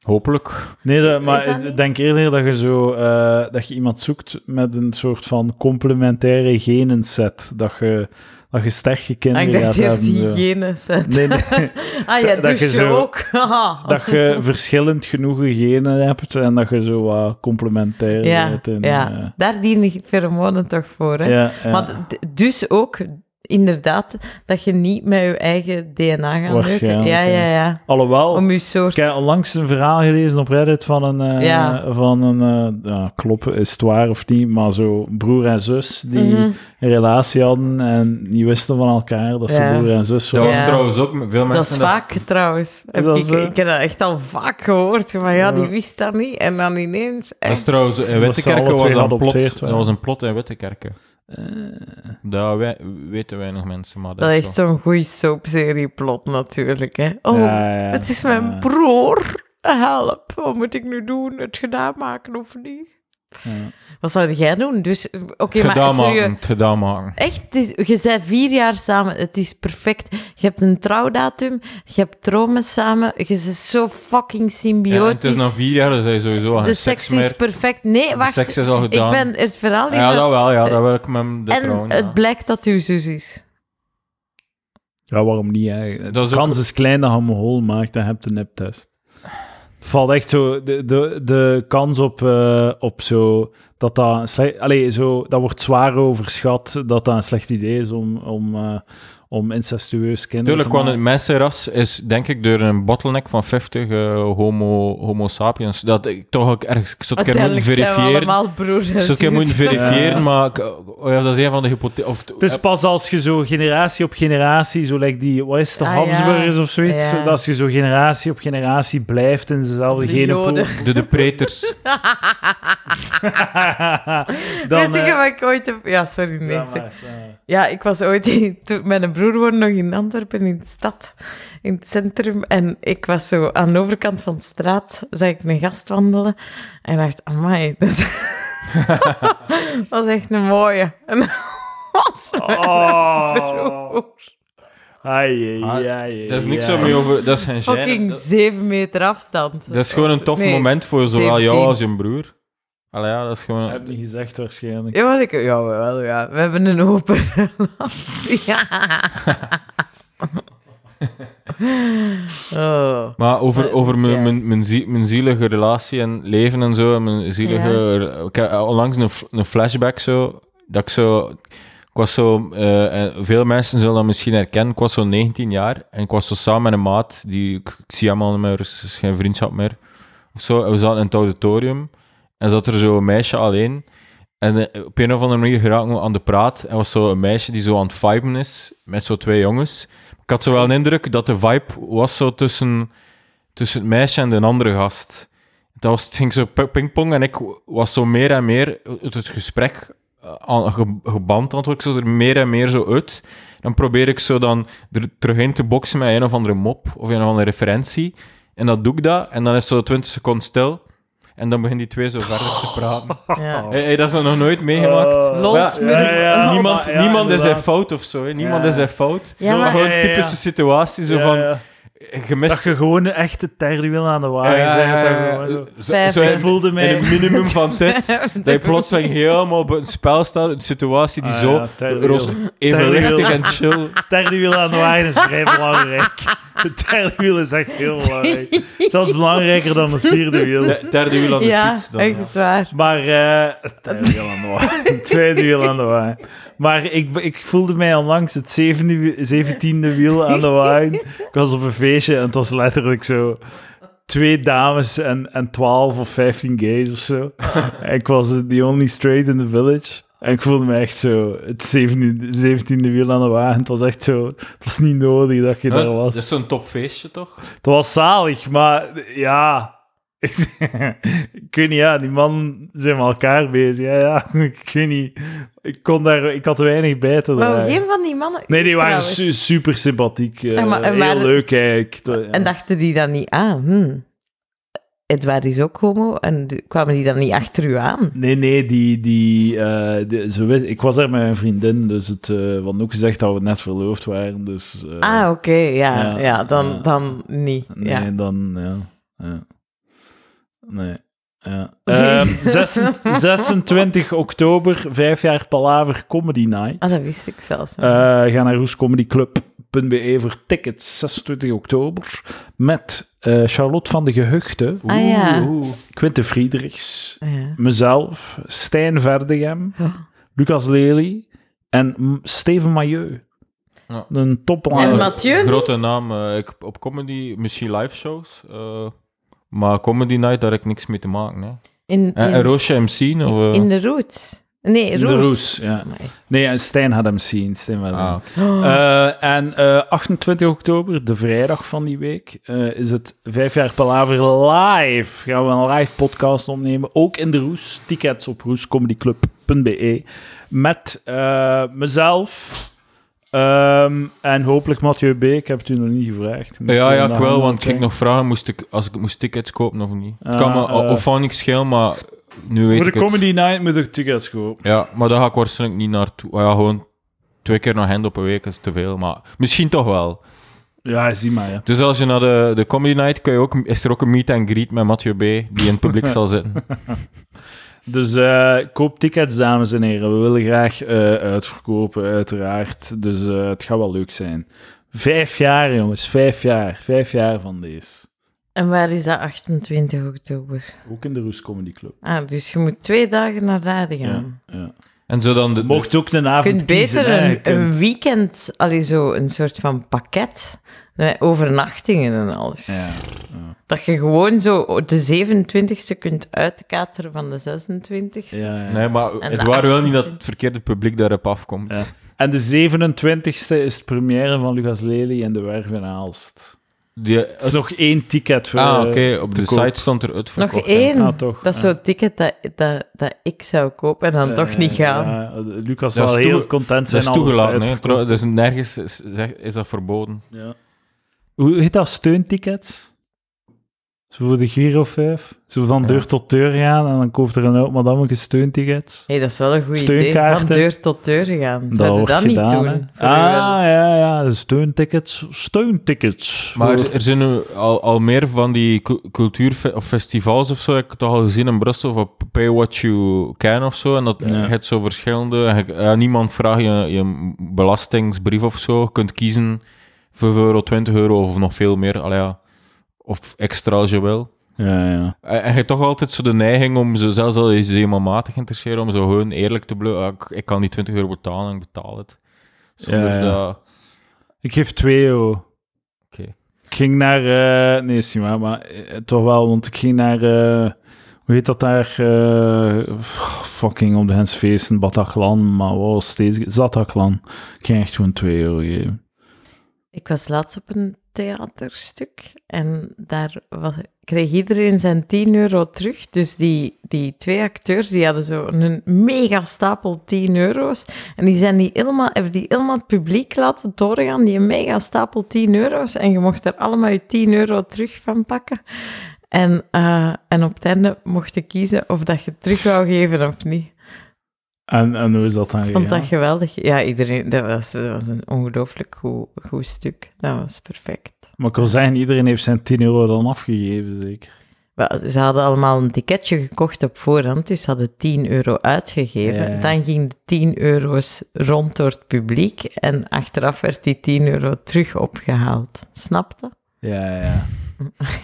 Speaker 2: Hopelijk.
Speaker 1: Nee, dat-
Speaker 3: Is
Speaker 1: maar
Speaker 3: dat
Speaker 1: ik
Speaker 3: niet?
Speaker 1: denk eerder dat je zo eh, dat je iemand zoekt met een soort van complementaire genenset. Dat je, dat je sterke
Speaker 3: Ah,
Speaker 1: kinderen
Speaker 3: ik dacht
Speaker 1: gaat
Speaker 3: eerst
Speaker 1: hebben, zo.
Speaker 3: hygiëne. hè.
Speaker 1: Nee, nee,
Speaker 3: Ah ja,
Speaker 1: Dat- dat
Speaker 3: douche je
Speaker 1: je zo-
Speaker 3: ook. Haha.
Speaker 1: dat je verschillend genoeg genen hebt en dat je zo wat complementair
Speaker 3: ja,
Speaker 1: bent. en,
Speaker 3: ja, daar dienen feromonen toch voor, hè?
Speaker 1: eh, ja, ja,
Speaker 3: Maar d- dus ook inderdaad dat je niet met je eigen DNA gaat werken.
Speaker 1: Waarschijnlijk,
Speaker 3: Ja, ja,
Speaker 1: ja. Oh,
Speaker 3: ja.
Speaker 1: Alhoewel,
Speaker 3: Om je soort...
Speaker 1: Ik heb onlangs een verhaal gelezen op Reddit van een, eh
Speaker 3: Ja.
Speaker 1: van een eh, ja, kloppen, is het waar of niet, maar zo broer en zus die
Speaker 3: Mhm.
Speaker 1: een relatie hadden en die wisten van elkaar dat ze
Speaker 3: Ja.
Speaker 1: broer en zus
Speaker 2: Dat
Speaker 1: waren.
Speaker 2: was
Speaker 3: Ja.
Speaker 2: trouwens ook met veel mensen...
Speaker 3: Dat is vaak trouwens. Heb
Speaker 1: dat
Speaker 3: ik,
Speaker 1: zo?
Speaker 3: ik heb dat echt al vaak gehoord. Van ja,
Speaker 1: Ja.
Speaker 3: die wist dat niet. En dan ineens.
Speaker 2: Dat is
Speaker 3: echt.
Speaker 2: trouwens... In
Speaker 1: Omdat ze
Speaker 2: Wittekerken
Speaker 1: alle
Speaker 2: was
Speaker 1: twee
Speaker 2: dat een
Speaker 1: geadopteerd
Speaker 2: plot. Dat
Speaker 1: waren.
Speaker 2: was een plot in Wittekerken.
Speaker 1: Eh,
Speaker 2: Dat wij, weten weinig mensen, maar dat,
Speaker 3: Dat is
Speaker 2: is
Speaker 3: echt
Speaker 2: zo.
Speaker 3: zo'n goede soapserie plot natuurlijk. Hè. Oh,
Speaker 1: ja, ja,
Speaker 3: het is
Speaker 1: ja.
Speaker 3: mijn broer. Help, wat moet ik nu doen? Het gedaan maken of niet?
Speaker 1: Ja.
Speaker 3: Wat zou jij doen? Dus, eh, oké,
Speaker 2: Het
Speaker 3: maar
Speaker 2: gedaan maken.
Speaker 3: serieus,
Speaker 2: Het gedaan maken.
Speaker 3: echt, het is, je bent vier jaar samen, het is perfect. Je hebt een trouwdatum, je hebt dromen samen, je bent zo fucking
Speaker 2: Ja,
Speaker 3: symbiotisch.
Speaker 2: en het is na vier jaar, dus hij sowieso al
Speaker 3: de
Speaker 2: geen
Speaker 3: seks,
Speaker 2: seks
Speaker 3: is
Speaker 2: meer.
Speaker 3: perfect. Nee,
Speaker 2: De
Speaker 3: wacht,
Speaker 2: seks is al
Speaker 3: ik
Speaker 2: gedaan.
Speaker 3: ben het verhaal
Speaker 2: ja,
Speaker 3: in-
Speaker 2: dat wel, ja, dat wil ik met hem de
Speaker 3: eh, En
Speaker 2: trouwen, ja.
Speaker 3: het blijkt dat uw zus is.
Speaker 1: Ja, waarom niet eigenlijk?
Speaker 2: Dat is
Speaker 1: De
Speaker 2: ook-
Speaker 1: kans is klein dat je hem hol maakt en je hebt een neptest. Het valt echt zo, de, de, de kans op, eh, op zo, dat dat een slecht, allee, zo, dat wordt zwaar overschat dat dat een slecht idee is om, om, eh, om incestueus kinderen
Speaker 2: Tuurlijk,
Speaker 1: te
Speaker 2: want
Speaker 1: maken.
Speaker 2: het mensenras is denk ik door een bottleneck van 50 eh, homo, homo sapiens. Dat ik toch ook ergens ik zou het een keer
Speaker 3: Uiteindelijk
Speaker 2: moeten
Speaker 3: zijn we
Speaker 2: verifiëren.
Speaker 3: allemaal broers.
Speaker 2: Ik zou het een keer moeten verifiëren, maar ik- oh ja, dat is een van de hypothesen.
Speaker 1: Het is pas als je zo generatie op generatie, zo lijkt die, wat is het, de
Speaker 3: Ah, ja.
Speaker 1: Habsburgers of zoiets,
Speaker 3: Ja.
Speaker 1: dat als je zo generatie op generatie blijft in dezelfde
Speaker 3: De
Speaker 1: genenpool,
Speaker 3: Joden.
Speaker 2: eh, de, de preters.
Speaker 1: dan...
Speaker 3: Weet
Speaker 1: eh,
Speaker 3: je wat ik ooit heb... Ja, sorry, nee.
Speaker 1: ja,
Speaker 3: ik zeg-
Speaker 1: maar, eh,
Speaker 3: Ja, ik was ooit... in- toen- mijn broer woonde nog in Antwerpen, in de stad. In het centrum. En ik was zo aan de overkant van de straat, zag ik een gast wandelen. En dacht, amai, dat is... dat was echt een mooie. En dat was mijn
Speaker 1: Oh.
Speaker 3: broer.
Speaker 1: Ai, ai,
Speaker 2: Ah,
Speaker 1: ai,
Speaker 2: Dat is niks
Speaker 1: ai.
Speaker 2: zo mee over... Dat is geen gêne.
Speaker 3: Fucking
Speaker 2: Dat,
Speaker 3: zeven meter afstand.
Speaker 2: dat is gewoon een tof
Speaker 3: Nee.
Speaker 2: moment voor zowel
Speaker 3: 17.
Speaker 2: jou als je broer. Allee, ja, dat is
Speaker 1: Ik heb het
Speaker 2: gewoon...
Speaker 1: niet gezegd waarschijnlijk.
Speaker 3: Ja, maar ik, ja, wel, ja. We hebben een open relatie. Ja. oh.
Speaker 2: Maar over,
Speaker 3: Maar,
Speaker 2: over
Speaker 3: dus,
Speaker 2: mijn,
Speaker 3: ja.
Speaker 2: mijn, mijn, zie- mijn zielige relatie en leven en zo. En mijn zielige... Ik heb onlangs een, f- een flashback zo. Dat ik zo... Ik was zo... eh, en veel mensen zullen dat misschien herkennen. Ik was zo 19 jaar. En ik was zo samen met een maat. Die, ik, ik zie hem al niet meer. dus het is geen vriendschap meer. Of zo. En we zaten in het auditorium. En zat er zo een meisje alleen. En eh, op een of andere manier geraken we aan de praat. En was zo een meisje die zo aan het viben is. Met zo twee jongens. Ik had zo wel een indruk dat de vibe was zo tussen, tussen het meisje en de andere gast. Dat was, het ging zo pi- pingpong en ik was zo meer en meer uit het gesprek eh, aan, ge- geband. aan het worden. Ik zo er meer en meer zo uit. Dan probeer ik zo dan er terug in te boksen met een of andere mop of een of andere referentie. En dat doe ik dat. En dan is zo 20 seconden stil. En dan beginnen die twee zo verder te praten.
Speaker 3: Ja.
Speaker 2: Hey, hey, dat is nog nooit meegemaakt.
Speaker 1: Oh.
Speaker 3: Lol,
Speaker 2: Maar ja,
Speaker 3: smurf.
Speaker 1: ja, ja,
Speaker 2: niemand
Speaker 1: maar ja,
Speaker 2: niemand is zijn
Speaker 1: inderdaad.
Speaker 2: fout of zo. hè. Niemand
Speaker 1: Ja.
Speaker 2: is zijn fout.
Speaker 3: Ja,
Speaker 2: zo,
Speaker 3: maar-
Speaker 2: gewoon
Speaker 1: Ja, ja, ja.
Speaker 2: typische situatie. Zo
Speaker 1: Ja,
Speaker 2: van,
Speaker 1: ja. Dat
Speaker 2: gemist.
Speaker 1: je gewoon echt de terwiel aan de wagen
Speaker 2: Ja,
Speaker 1: zegt.
Speaker 2: ja,
Speaker 1: dat
Speaker 2: ja,
Speaker 1: gewoon zo.
Speaker 2: zo-
Speaker 3: Vijf
Speaker 2: zo
Speaker 1: Ik
Speaker 3: Ja.
Speaker 2: in-
Speaker 1: voelde
Speaker 2: in
Speaker 1: mij...
Speaker 2: het minimum van tijd. Dat je plotseling helemaal op het spel staat. Een situatie die
Speaker 1: Ah,
Speaker 2: zo
Speaker 1: ja, terwiel.
Speaker 2: roze- evenwichtig en chill.
Speaker 1: Terwiel aan de wagen is vrij belangrijk. Het derde wiel is echt heel belangrijk. Zelfs belangrijker dan het vierde wiel.
Speaker 2: De- Derde wiel aan de
Speaker 3: Ja,
Speaker 2: fiets. Dan.
Speaker 3: echt waar.
Speaker 1: Maar eh, het derde wiel aan de wagen. Het tweede wiel aan de wagen. Maar ik, ik voelde mij onlangs het zevende, wi- zeventiende wiel aan de wagen. Ik was op een feestje en het was letterlijk zo... Twee dames en, en twaalf of vijftien gays of zo. En ik was the only straight in the village. En ik voelde me echt zo... Het zeventiende, zeventiende wiel aan de wagen. Het was echt zo... Het was niet nodig dat je
Speaker 2: Huh?
Speaker 1: daar was.
Speaker 2: Dat is zo'n topfeestje, toch?
Speaker 1: Het was zalig, maar ja. ik weet niet, ja, die man zijn met elkaar bezig. Ja, ja, ik weet niet. Ik, kon daar, ik had weinig bij te
Speaker 3: Maar
Speaker 1: dragen.
Speaker 3: geen van die mannen...
Speaker 1: Nee, die waren
Speaker 3: trouwens.
Speaker 1: su- super sympathiek. eh,
Speaker 3: Ja, maar- en
Speaker 1: heel
Speaker 3: waren-
Speaker 1: leuk eigenlijk. Het wa- ja.
Speaker 3: En dachten die dan niet aan? Hm. Edouard is ook homo. En d- kwamen die dan niet achter u aan?
Speaker 1: Nee, nee, die, die, eh, die- ze wist- ik was daar met mijn vriendin, dus het eh want ook gezegd dat we net verloofd waren, dus... eh,
Speaker 3: ah, oké, ja,
Speaker 1: ja,
Speaker 3: ja, dan,
Speaker 1: ja.
Speaker 3: dan niet.
Speaker 1: Nee,
Speaker 3: ja.
Speaker 1: dan... Ja, ja. Nee. Ja. Ehm, zes- 26 oktober, vijf jaar Palaver Comedy Night.
Speaker 3: Ah, dat wist ik zelfs nog.
Speaker 1: Eh, ga naar roescomedyclub.be E voor tickets, 26 oktober. Met eh, Charlotte van de Gehuchten,
Speaker 3: Ah, ja.
Speaker 2: Oeh.
Speaker 1: Quinte Friedrichs,
Speaker 3: ja.
Speaker 1: mezelf, Stijn Verdegem,
Speaker 3: Oh.
Speaker 1: Lucas Lely en M- Steven Mailleu.
Speaker 2: Ja.
Speaker 1: Een
Speaker 3: En
Speaker 1: topline.
Speaker 3: Mat- Mathieu niet?
Speaker 2: Grote naam. eh, ik, op comedy, misschien live shows. eh, maar comedy night, daar heb ik niks mee te maken. Hè.
Speaker 3: In,
Speaker 1: eh,
Speaker 2: En, en
Speaker 3: in,
Speaker 2: Roosje MC? Of, eh?
Speaker 3: in de roet. Nee,
Speaker 1: De
Speaker 3: roes.
Speaker 1: Roes, ja.
Speaker 3: Amai.
Speaker 1: Nee, en Stijn had hem zien. Stijn Verdegem.
Speaker 2: Ah, oké.
Speaker 1: Eh, en eh, 28 oktober, de vrijdag van die week, eh, is het vijf jaar Palaver live. Gaan we een live podcast opnemen, ook in de Roes. Tickets op roescomedyclub.be. E. Met eh, mezelf ehm, en hopelijk Mathieu B. Ik heb het u nog niet gevraagd. Moet
Speaker 2: Ja,
Speaker 1: u
Speaker 2: ja, ik
Speaker 1: naar
Speaker 2: wel,
Speaker 1: handen
Speaker 2: want ik ging
Speaker 1: kijken?
Speaker 2: nog vragen moest ik, als ik moest tickets kopen of niet. het kan me
Speaker 1: Ah, eh.
Speaker 2: of van niks schelen, maar nu weet
Speaker 1: Voor
Speaker 2: ik
Speaker 1: de
Speaker 2: het.
Speaker 1: comedy night moet ik tickets kopen.
Speaker 2: Ja, maar daar ga ik waarschijnlijk niet naartoe. Ah ja, gewoon twee keer naar hand op een week is te veel, maar misschien toch wel.
Speaker 1: Ja, zie maar. Ja.
Speaker 2: Dus als je naar de, de comedy night kun je ook, is er ook een meet and greet met Mathieu B. die in het publiek zal zitten.
Speaker 1: Dus eh, koop tickets, dames en heren. We willen graag eh, uitverkopen, uiteraard. Dus eh, het gaat wel leuk zijn. Vijf jaar, jongens. Vijf jaar. Vijf jaar van deze.
Speaker 3: En waar is dat 28 oktober?
Speaker 1: Ook in de Roes Comedy Club.
Speaker 3: Ah, dus je moet twee dagen naar daar gaan.
Speaker 1: Ja.
Speaker 2: En zo dan de,
Speaker 1: Je mocht ook een avond
Speaker 3: Je kunt beter
Speaker 1: kiezen, hè. Je
Speaker 3: een,
Speaker 1: kunt-
Speaker 3: een weekend, allee, zo een soort van pakket, eh, overnachtingen en alles.
Speaker 1: Ja.
Speaker 3: Dat je gewoon zo de 27e kunt uitkateren van de 26e.
Speaker 1: Ja, ja.
Speaker 2: Nee, maar
Speaker 3: En
Speaker 2: het
Speaker 3: de
Speaker 2: waren wel niet dat
Speaker 3: 28.
Speaker 2: het verkeerde publiek daarop afkomt.
Speaker 1: Ja. En de 27e is de première van Lucas Lely en De Werf in Aalst.
Speaker 2: Die-
Speaker 1: Het is nog één ticket voor...
Speaker 2: ah,
Speaker 1: eh,
Speaker 2: oké. Op
Speaker 1: te
Speaker 2: de
Speaker 1: koop.
Speaker 2: site stond er het
Speaker 3: Nog
Speaker 2: verkocht. hè.
Speaker 3: één.
Speaker 1: Ah, toch.
Speaker 3: dat is
Speaker 1: Ja.
Speaker 3: zo'n ticket dat, dat, dat ik zou kopen en dan
Speaker 1: eh,
Speaker 3: toch niet gaan.
Speaker 1: ja, Lucas
Speaker 2: Dat
Speaker 1: zal
Speaker 2: is
Speaker 1: heel
Speaker 2: toege-
Speaker 1: content
Speaker 2: Dat
Speaker 1: zijn.
Speaker 2: is
Speaker 1: als het
Speaker 2: toegelaten, hè.
Speaker 1: uitverkocht
Speaker 2: Trouw- Dus nergens is, zeg- is dat verboden.
Speaker 1: Ja. Hoe heet dat? Steuntickets? Zo voor de Giro 5? Zo van
Speaker 2: Ja.
Speaker 1: deur tot deur gaan en dan koopt er een oud madameke steuntickets.
Speaker 3: Hé, dat is wel een goed idee. Van
Speaker 1: Steunkaarten.
Speaker 3: deur tot deur gaan.
Speaker 1: Dat
Speaker 3: Zou je
Speaker 1: wordt
Speaker 3: dat niet
Speaker 1: gedaan, hè.
Speaker 3: doen? Voor
Speaker 1: Ah, ja, ja. de Steuntickets. Steuntickets.
Speaker 2: Maar
Speaker 1: Voor-
Speaker 2: er zijn nu al, al meer van die cu- cultuur of festivals of zo. Heb ik het toch al gezien in Brussel van Pay What You Can of zo. En dat
Speaker 1: Ja.
Speaker 2: het zo verschillende. en je- ja, niemand vraagt je, je belastingsbrief of zo. Je kunt kiezen voor 5 euro, 20 euro of nog veel meer. Allee, ja. Of extra als je wil.
Speaker 1: Ja, ja.
Speaker 2: En en je hebt toch altijd zo de neiging om, zo, zelfs al is je iemand matig interesseert, om zo gewoon eerlijk te blijven. Ah, Ik, ik kan die 20 euro betalen, ik betaal het. Zonder
Speaker 1: Ja, ja.
Speaker 2: dat...
Speaker 1: Ik geef 2 euro.
Speaker 2: Oké.
Speaker 1: Ik ging naar... eh, nee, is niet waar, maar eh, toch wel, want ik ging naar... eh, hoe heet dat daar? eh, fucking op de Hensfeesten, Bataclan, maar wow, steeds... Zataclan. Ik ging echt gewoon 2 euro geven.
Speaker 3: Ik was laatst op een theaterstuk en daar was, kreeg iedereen zijn 10 euro terug. Dus die, die twee acteurs die hadden zo een mega stapel 10 euro's. En die, zijn die helemaal, hebben die helemaal het publiek laten doorgaan, die mega stapel 10 euro's. En je mocht er allemaal je 10 euro terug van pakken. En, eh, en op het einde mocht je kiezen of dat je het terug wou geven of niet.
Speaker 1: En, en hoe is dat dan
Speaker 3: Ik vond
Speaker 1: gegaan?
Speaker 3: dat geweldig. Ja, iedereen, dat was, dat was een ongelooflijk goed, goed stuk. Dat was perfect.
Speaker 1: Maar ik wil zeggen, iedereen heeft zijn 10 euro dan afgegeven, zeker.
Speaker 3: Wel, Ze hadden allemaal een ticketje gekocht op voorhand, dus ze hadden 10 euro uitgegeven.
Speaker 1: Ja, ja.
Speaker 3: Dan ging de 10 euro's rond door het publiek en achteraf werd die 10 euro terug opgehaald. Snapte?
Speaker 1: Ja, ja, ja.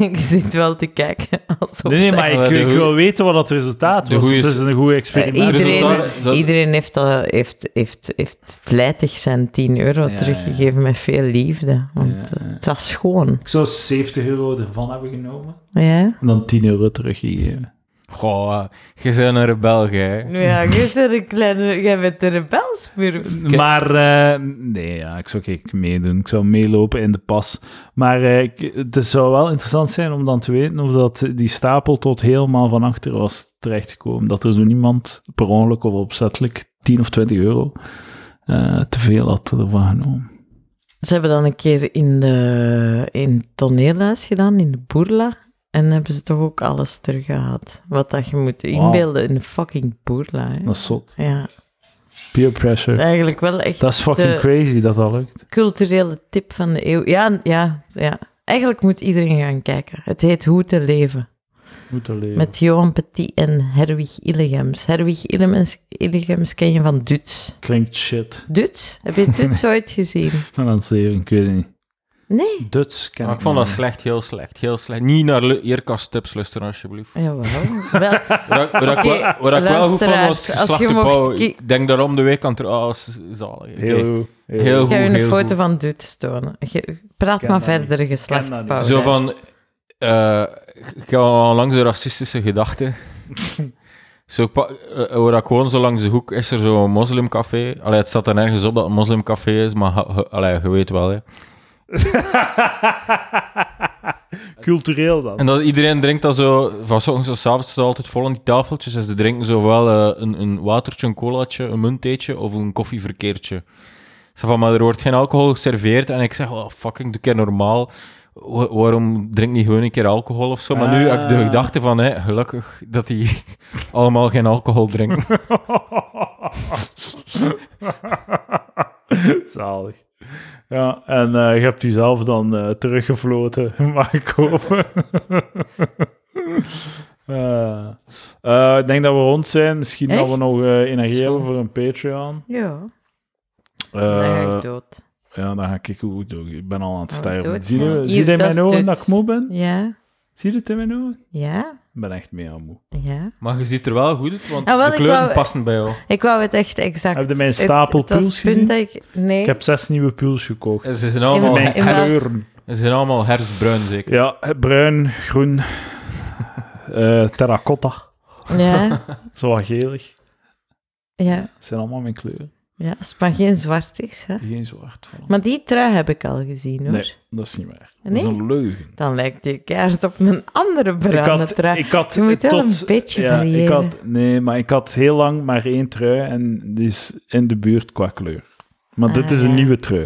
Speaker 3: Ik zit wel te kijken alsof...
Speaker 1: Nee, nee,
Speaker 3: dat-
Speaker 1: maar ik,
Speaker 2: De
Speaker 1: ik
Speaker 2: goeie-
Speaker 1: wil weten wat het resultaat
Speaker 2: de
Speaker 1: was.
Speaker 2: goeie-
Speaker 1: Het is een goed experiment.
Speaker 3: Eh, iedereen
Speaker 2: resultaat- dat-
Speaker 3: iedereen heeft, eh, heeft, heeft, heeft vlijtig zijn 10 euro
Speaker 1: Ja,
Speaker 3: teruggegeven met veel liefde, want eh,
Speaker 1: Ja, ja.
Speaker 3: het was schoon.
Speaker 1: Ik zou 70 euro ervan hebben genomen.
Speaker 3: Ja?
Speaker 1: En dan 10 euro teruggegeven.
Speaker 2: Goh, ah, je bent een rebel, jij.
Speaker 3: Ja, je bent een kleine... Jij bent een rebelsburg.
Speaker 1: Maar eh, nee, ja, ik zou kijk, meedoen. Ik zou meelopen in de pas. Maar eh, ik- het zou wel interessant zijn om dan te weten of dat die stapel tot helemaal van achter was terechtgekomen. Dat er zo niemand per ongeluk of opzettelijk 10 of 20 euro eh, te veel had ervan genomen.
Speaker 3: Ze hebben dan een keer in de in het toneelhuis gedaan, in de Boerla. En hebben ze toch ook alles teruggehaald. Wat dat je moet inbeelden in de fucking Boerla. hè.
Speaker 1: Dat is zot.
Speaker 3: Ja,
Speaker 1: Peer pressure.
Speaker 3: eigenlijk wel echt
Speaker 1: Dat is fucking
Speaker 3: de-
Speaker 1: crazy dat dat lukt.
Speaker 3: culturele tip van de eeuw. Ja, ja, ja. Eigenlijk moet iedereen gaan kijken. Het heet Hoe te leven.
Speaker 1: Moet er leven.
Speaker 3: Met Johan Petit en Herwig Illegems. Herwig Illegems, Illegems ken je van Duts.
Speaker 1: Klinkt shit.
Speaker 3: Duts? Heb je Duts ooit gezien?
Speaker 1: Van aan het zeven, ik weet het niet.
Speaker 3: Nee?
Speaker 1: Duts ken
Speaker 2: Maar Ah, ik vond dat slecht, heel slecht, heel slecht. Niet naar lu- eerkasttips luisteren, alsjeblieft.
Speaker 3: Jawel. Wel,
Speaker 2: Waar, waar ik, wel-
Speaker 3: Oké,
Speaker 2: waar ik wel goed van was
Speaker 3: luisteraars, als
Speaker 2: geslacht
Speaker 3: je
Speaker 2: te
Speaker 3: mocht
Speaker 2: bouwen.
Speaker 3: kie-
Speaker 2: Ik denk daarom de weekend er... Ah, is- zalig. Oké.
Speaker 1: Heel goed.
Speaker 2: Heel
Speaker 3: Ik ga
Speaker 2: goed,
Speaker 3: u een
Speaker 2: heel
Speaker 3: foto
Speaker 2: goed.
Speaker 3: van Duits tonen. Ge- praat
Speaker 1: Ken
Speaker 3: maar
Speaker 1: dat niet.
Speaker 3: verder,
Speaker 1: Ken dat
Speaker 3: geslacht
Speaker 1: niet.
Speaker 3: Paul.
Speaker 2: Zo van... eh, ik ga al langs de racistische gedachten. zo, pa- eh, waar ik woon, zo langs de hoek, is er zo'n moslimcafé. Allee, het staat er nergens op dat het een moslimcafé is, maar ha- ha- allee, je weet wel, hè.
Speaker 1: Cultureel dan.
Speaker 2: En dat iedereen drinkt dat zo, van s ochtends tot 's avonds staat altijd vol aan die tafeltjes. En ze drinken zowel eh, een, een watertje, een colaatje, een muntheetje of een koffieverkeertje. Ze van, maar er wordt geen alcohol geserveerd. En ik zeg, oh, fucking, doe keer normaal. Wa- waarom drink niet gewoon een keer alcohol of zo? Maar nu heb ik de
Speaker 1: Ah.
Speaker 2: gedachte van, hè, gelukkig dat die allemaal geen alcohol drinken.
Speaker 1: Zalig. Ja, en eh, je hebt jezelf dan eh, teruggefloten, mag ik hopen. Eh, eh, ik denk dat we rond zijn. Misschien dat we
Speaker 3: Echt?
Speaker 1: nog eh, energie
Speaker 3: Zo.
Speaker 1: hebben voor een Patreon.
Speaker 3: Ja,
Speaker 1: Eh,
Speaker 3: dan ga ik dood.
Speaker 1: ja, dan ga ik ook doen. Ik ben al aan het
Speaker 3: Oh,
Speaker 1: sterven.
Speaker 3: dood,
Speaker 1: Zie
Speaker 3: man.
Speaker 1: je,
Speaker 3: Hier,
Speaker 1: zie je in
Speaker 3: dat
Speaker 1: mijn
Speaker 3: is
Speaker 1: ogen
Speaker 3: dood.
Speaker 1: dat ik moe ben?
Speaker 3: Ja,
Speaker 1: Zie je het in mijn ogen?
Speaker 3: ja.
Speaker 1: Ik ben echt meer aan moe.
Speaker 3: Ja.
Speaker 2: Maar je ziet er wel goed uit, want
Speaker 3: Ah, wel,
Speaker 2: de
Speaker 3: ik
Speaker 2: kleuren
Speaker 3: wou-
Speaker 2: passen bij jou.
Speaker 3: Ik wou het echt exact.
Speaker 1: Heb je mijn
Speaker 3: Het-
Speaker 1: stapel
Speaker 3: het was
Speaker 1: pools
Speaker 3: het punt
Speaker 1: gezien?
Speaker 3: dat ik- nee.
Speaker 1: Ik heb zes nieuwe pools gekocht.
Speaker 2: En Eh, Ze zijn
Speaker 1: In
Speaker 2: allemaal,
Speaker 3: wel-
Speaker 1: mijn
Speaker 3: Oh, in wel-
Speaker 2: herfst,
Speaker 1: kleuren.
Speaker 2: ze zijn allemaal herfstbruin, zeker.
Speaker 1: Ja, bruin, groen, eh, terracotta,
Speaker 3: Ja,
Speaker 1: zo wat gelig.
Speaker 3: ja,
Speaker 1: Het zijn allemaal mijn kleuren.
Speaker 3: ja, als het maar geen zwart is. Hè.
Speaker 1: Geen zwart. Voilà.
Speaker 3: Maar die trui heb ik al gezien hoor.
Speaker 1: Nee, dat is niet waar.
Speaker 3: Nee?
Speaker 1: Dat is een leugen.
Speaker 3: Dan lijkt die keihard op een andere bruine trui.
Speaker 1: ik had
Speaker 3: Je moet wel
Speaker 1: tot,
Speaker 3: een beetje
Speaker 1: ja, ik
Speaker 3: variëren.
Speaker 1: had, Nee, maar ik had heel lang maar één trui en die is in de buurt qua kleur. Maar
Speaker 3: Ah,
Speaker 1: dit is een
Speaker 3: ja.
Speaker 1: nieuwe trui.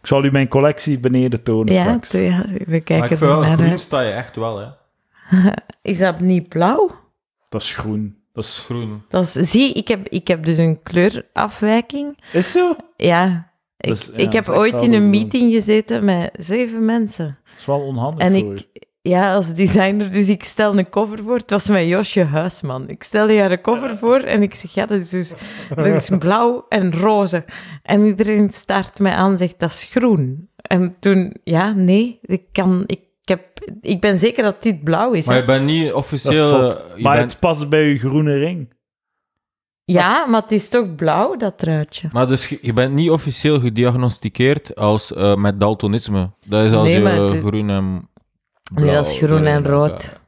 Speaker 1: Ik zal u mijn collectie beneden tonen
Speaker 3: ja,
Speaker 1: straks.
Speaker 3: toe, ja, we
Speaker 2: maar ik
Speaker 3: kijken
Speaker 2: vind wel,
Speaker 3: er naar
Speaker 2: groen
Speaker 3: uit.
Speaker 2: sta je echt wel, hè.
Speaker 3: Is dat niet blauw?
Speaker 1: Dat is groen. Dat is...
Speaker 2: Groen.
Speaker 3: Dat is, zie, ik heb, ik heb dus een kleurafwijking.
Speaker 1: Is zo?
Speaker 3: Ja. Ik,
Speaker 1: Dus, ja,
Speaker 3: ik heb
Speaker 1: dat is echt
Speaker 3: ooit
Speaker 1: wel
Speaker 3: in een
Speaker 1: goed.
Speaker 3: meeting gezeten met zeven mensen.
Speaker 1: Dat is wel onhandig
Speaker 3: En
Speaker 1: voor
Speaker 3: ik,
Speaker 1: u.
Speaker 3: ja, als designer, dus ik stel een cover voor. Het was met Josje Huisman. Ik stelde haar een cover voor en ik zeg, ja, dat is dus dat is blauw en roze. En iedereen staart mij aan en zegt, dat is groen. En toen, ja, nee, ik kan, ik, heb, ik ben zeker dat dit blauw is.
Speaker 2: Maar
Speaker 3: hè.
Speaker 2: je bent niet
Speaker 1: Dat is
Speaker 2: officieel...
Speaker 1: zot.
Speaker 2: eh, je
Speaker 1: Maar
Speaker 2: bent-
Speaker 1: het past bij uw groene ring.
Speaker 3: ja, maar het is toch blauw, dat truitje?
Speaker 2: Maar dus je- je bent niet officieel gediagnosticeerd als eh, met daltonisme. Dat is als
Speaker 3: Nee,
Speaker 2: je
Speaker 3: maar
Speaker 2: eh,
Speaker 3: het-
Speaker 2: groen en blauw... eh,
Speaker 3: nee, dat is groen en rood.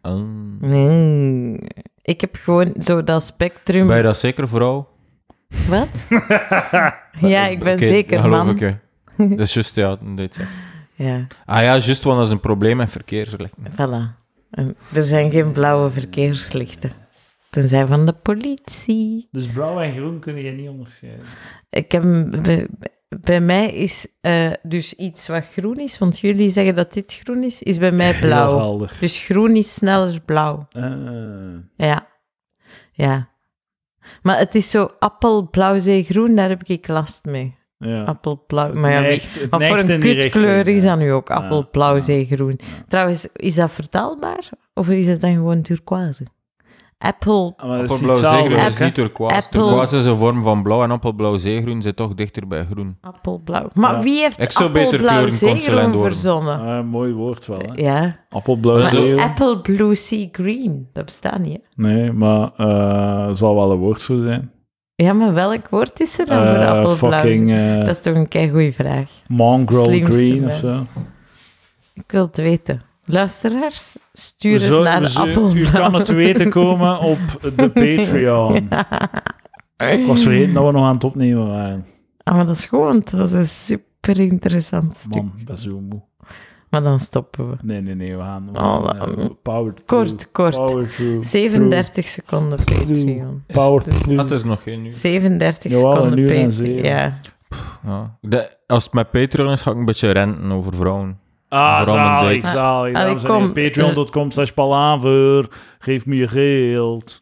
Speaker 2: Ah.
Speaker 3: Nee. Ik heb gewoon zo dat spectrum.
Speaker 2: Ben je dat zeker, vrouw?
Speaker 3: Wat? ja, ik ben
Speaker 2: Oké, dat
Speaker 3: zeker
Speaker 2: geloof
Speaker 3: man.
Speaker 2: ik, hè. Dat is juist, ja. dit zegt.
Speaker 3: Ja,
Speaker 2: Ah ja, juist, want dat is een probleem met verkeerslichten.
Speaker 3: voilà. En er zijn geen blauwe verkeerslichten. Tenzij van de politie.
Speaker 1: Dus blauw en groen kun je niet onderscheiden.
Speaker 3: Ik heb, bij, bij mij is eh, dus iets wat groen is, want jullie zeggen dat dit groen is, is bij mij
Speaker 1: Heel
Speaker 3: blauw.
Speaker 1: helder.
Speaker 3: Dus groen is sneller blauw.
Speaker 1: Ah.
Speaker 3: Ja. Ja. Maar het is zo appel, blauw, zee, groen, daar heb ik last mee.
Speaker 1: ja.
Speaker 3: Appel, blauw. Maar ja, wie-
Speaker 1: Neigt- het
Speaker 3: Maar voor
Speaker 1: neigt
Speaker 3: een
Speaker 1: in die
Speaker 3: kutkleur
Speaker 1: richting,
Speaker 3: is
Speaker 1: ja.
Speaker 3: dat nu ook appel,
Speaker 1: Ja,
Speaker 3: blauw,
Speaker 1: ja.
Speaker 3: zeegroen. Trouwens, is dat vertaalbaar? Of is het dan gewoon turquoise? Apple,
Speaker 1: Ah, Maar dat is
Speaker 2: Appelblauw
Speaker 1: iets anders,
Speaker 2: zeegroen is
Speaker 1: hè?
Speaker 2: niet turquoise.
Speaker 3: Apple-
Speaker 2: Turquoise is een vorm van blauw en appelblauw zeegroen zit toch dichter bij groen.
Speaker 3: appel, blauw. Maar
Speaker 1: Ja.
Speaker 3: wie heeft
Speaker 2: Ik zou
Speaker 3: appel,
Speaker 2: beter
Speaker 3: blauw,
Speaker 2: kleurenconsulent
Speaker 3: zeegroen
Speaker 2: worden.
Speaker 3: verzonnen?
Speaker 1: Ah, mooi woord wel, hè?
Speaker 3: Ja.
Speaker 1: Appelblauw
Speaker 2: Maar
Speaker 1: zeeuw.
Speaker 3: Apple, blue, sea, green. Dat bestaat niet, hè?
Speaker 1: Nee, maar eh, er zal wel een woord voor zijn.
Speaker 3: Ja, maar welk woord is er dan voor
Speaker 1: Eh,
Speaker 3: appel, blauw,
Speaker 1: fucking
Speaker 3: zee-
Speaker 1: eh,
Speaker 3: Dat is toch een keigoeie vraag.
Speaker 1: mongrel
Speaker 3: slimste
Speaker 1: green
Speaker 3: man.
Speaker 1: of zo.
Speaker 3: Ik wil het weten. Luisteraars, stuur het
Speaker 1: Zo-
Speaker 3: naar
Speaker 1: zo-
Speaker 3: appel,
Speaker 1: u
Speaker 3: blauw.
Speaker 1: kan het weten komen op de Patreon. Ik was vergeten dat we nog aan het opnemen waren.
Speaker 3: Ah, maar dat is gewoon, het was een super interessant stuk.
Speaker 1: Man, ik ben zo moe.
Speaker 3: Maar dan stoppen we.
Speaker 1: Nee, nee, nee, we gaan... we
Speaker 3: Oh,
Speaker 1: gaan, eh,
Speaker 3: um,
Speaker 1: power through,
Speaker 3: Kort, kort.
Speaker 1: Power through,
Speaker 3: 37 seconden Patreon.
Speaker 1: through, Power
Speaker 3: Dus-
Speaker 1: through.
Speaker 2: Dat is nog geen nu.
Speaker 3: 37
Speaker 1: Jawel, een
Speaker 3: seconden
Speaker 1: uur en
Speaker 3: Patreon.
Speaker 1: zeven.
Speaker 3: Ja.
Speaker 2: Ja. De- als het met Patreon is, ga ik een beetje renten over vrouwen.
Speaker 1: Ah,
Speaker 2: Vooral een
Speaker 1: zalig,
Speaker 2: date.
Speaker 1: zalig.
Speaker 3: Ah,
Speaker 1: Dames en
Speaker 3: kom.
Speaker 1: heren, patreon.com slash palaver. Geef me je geld.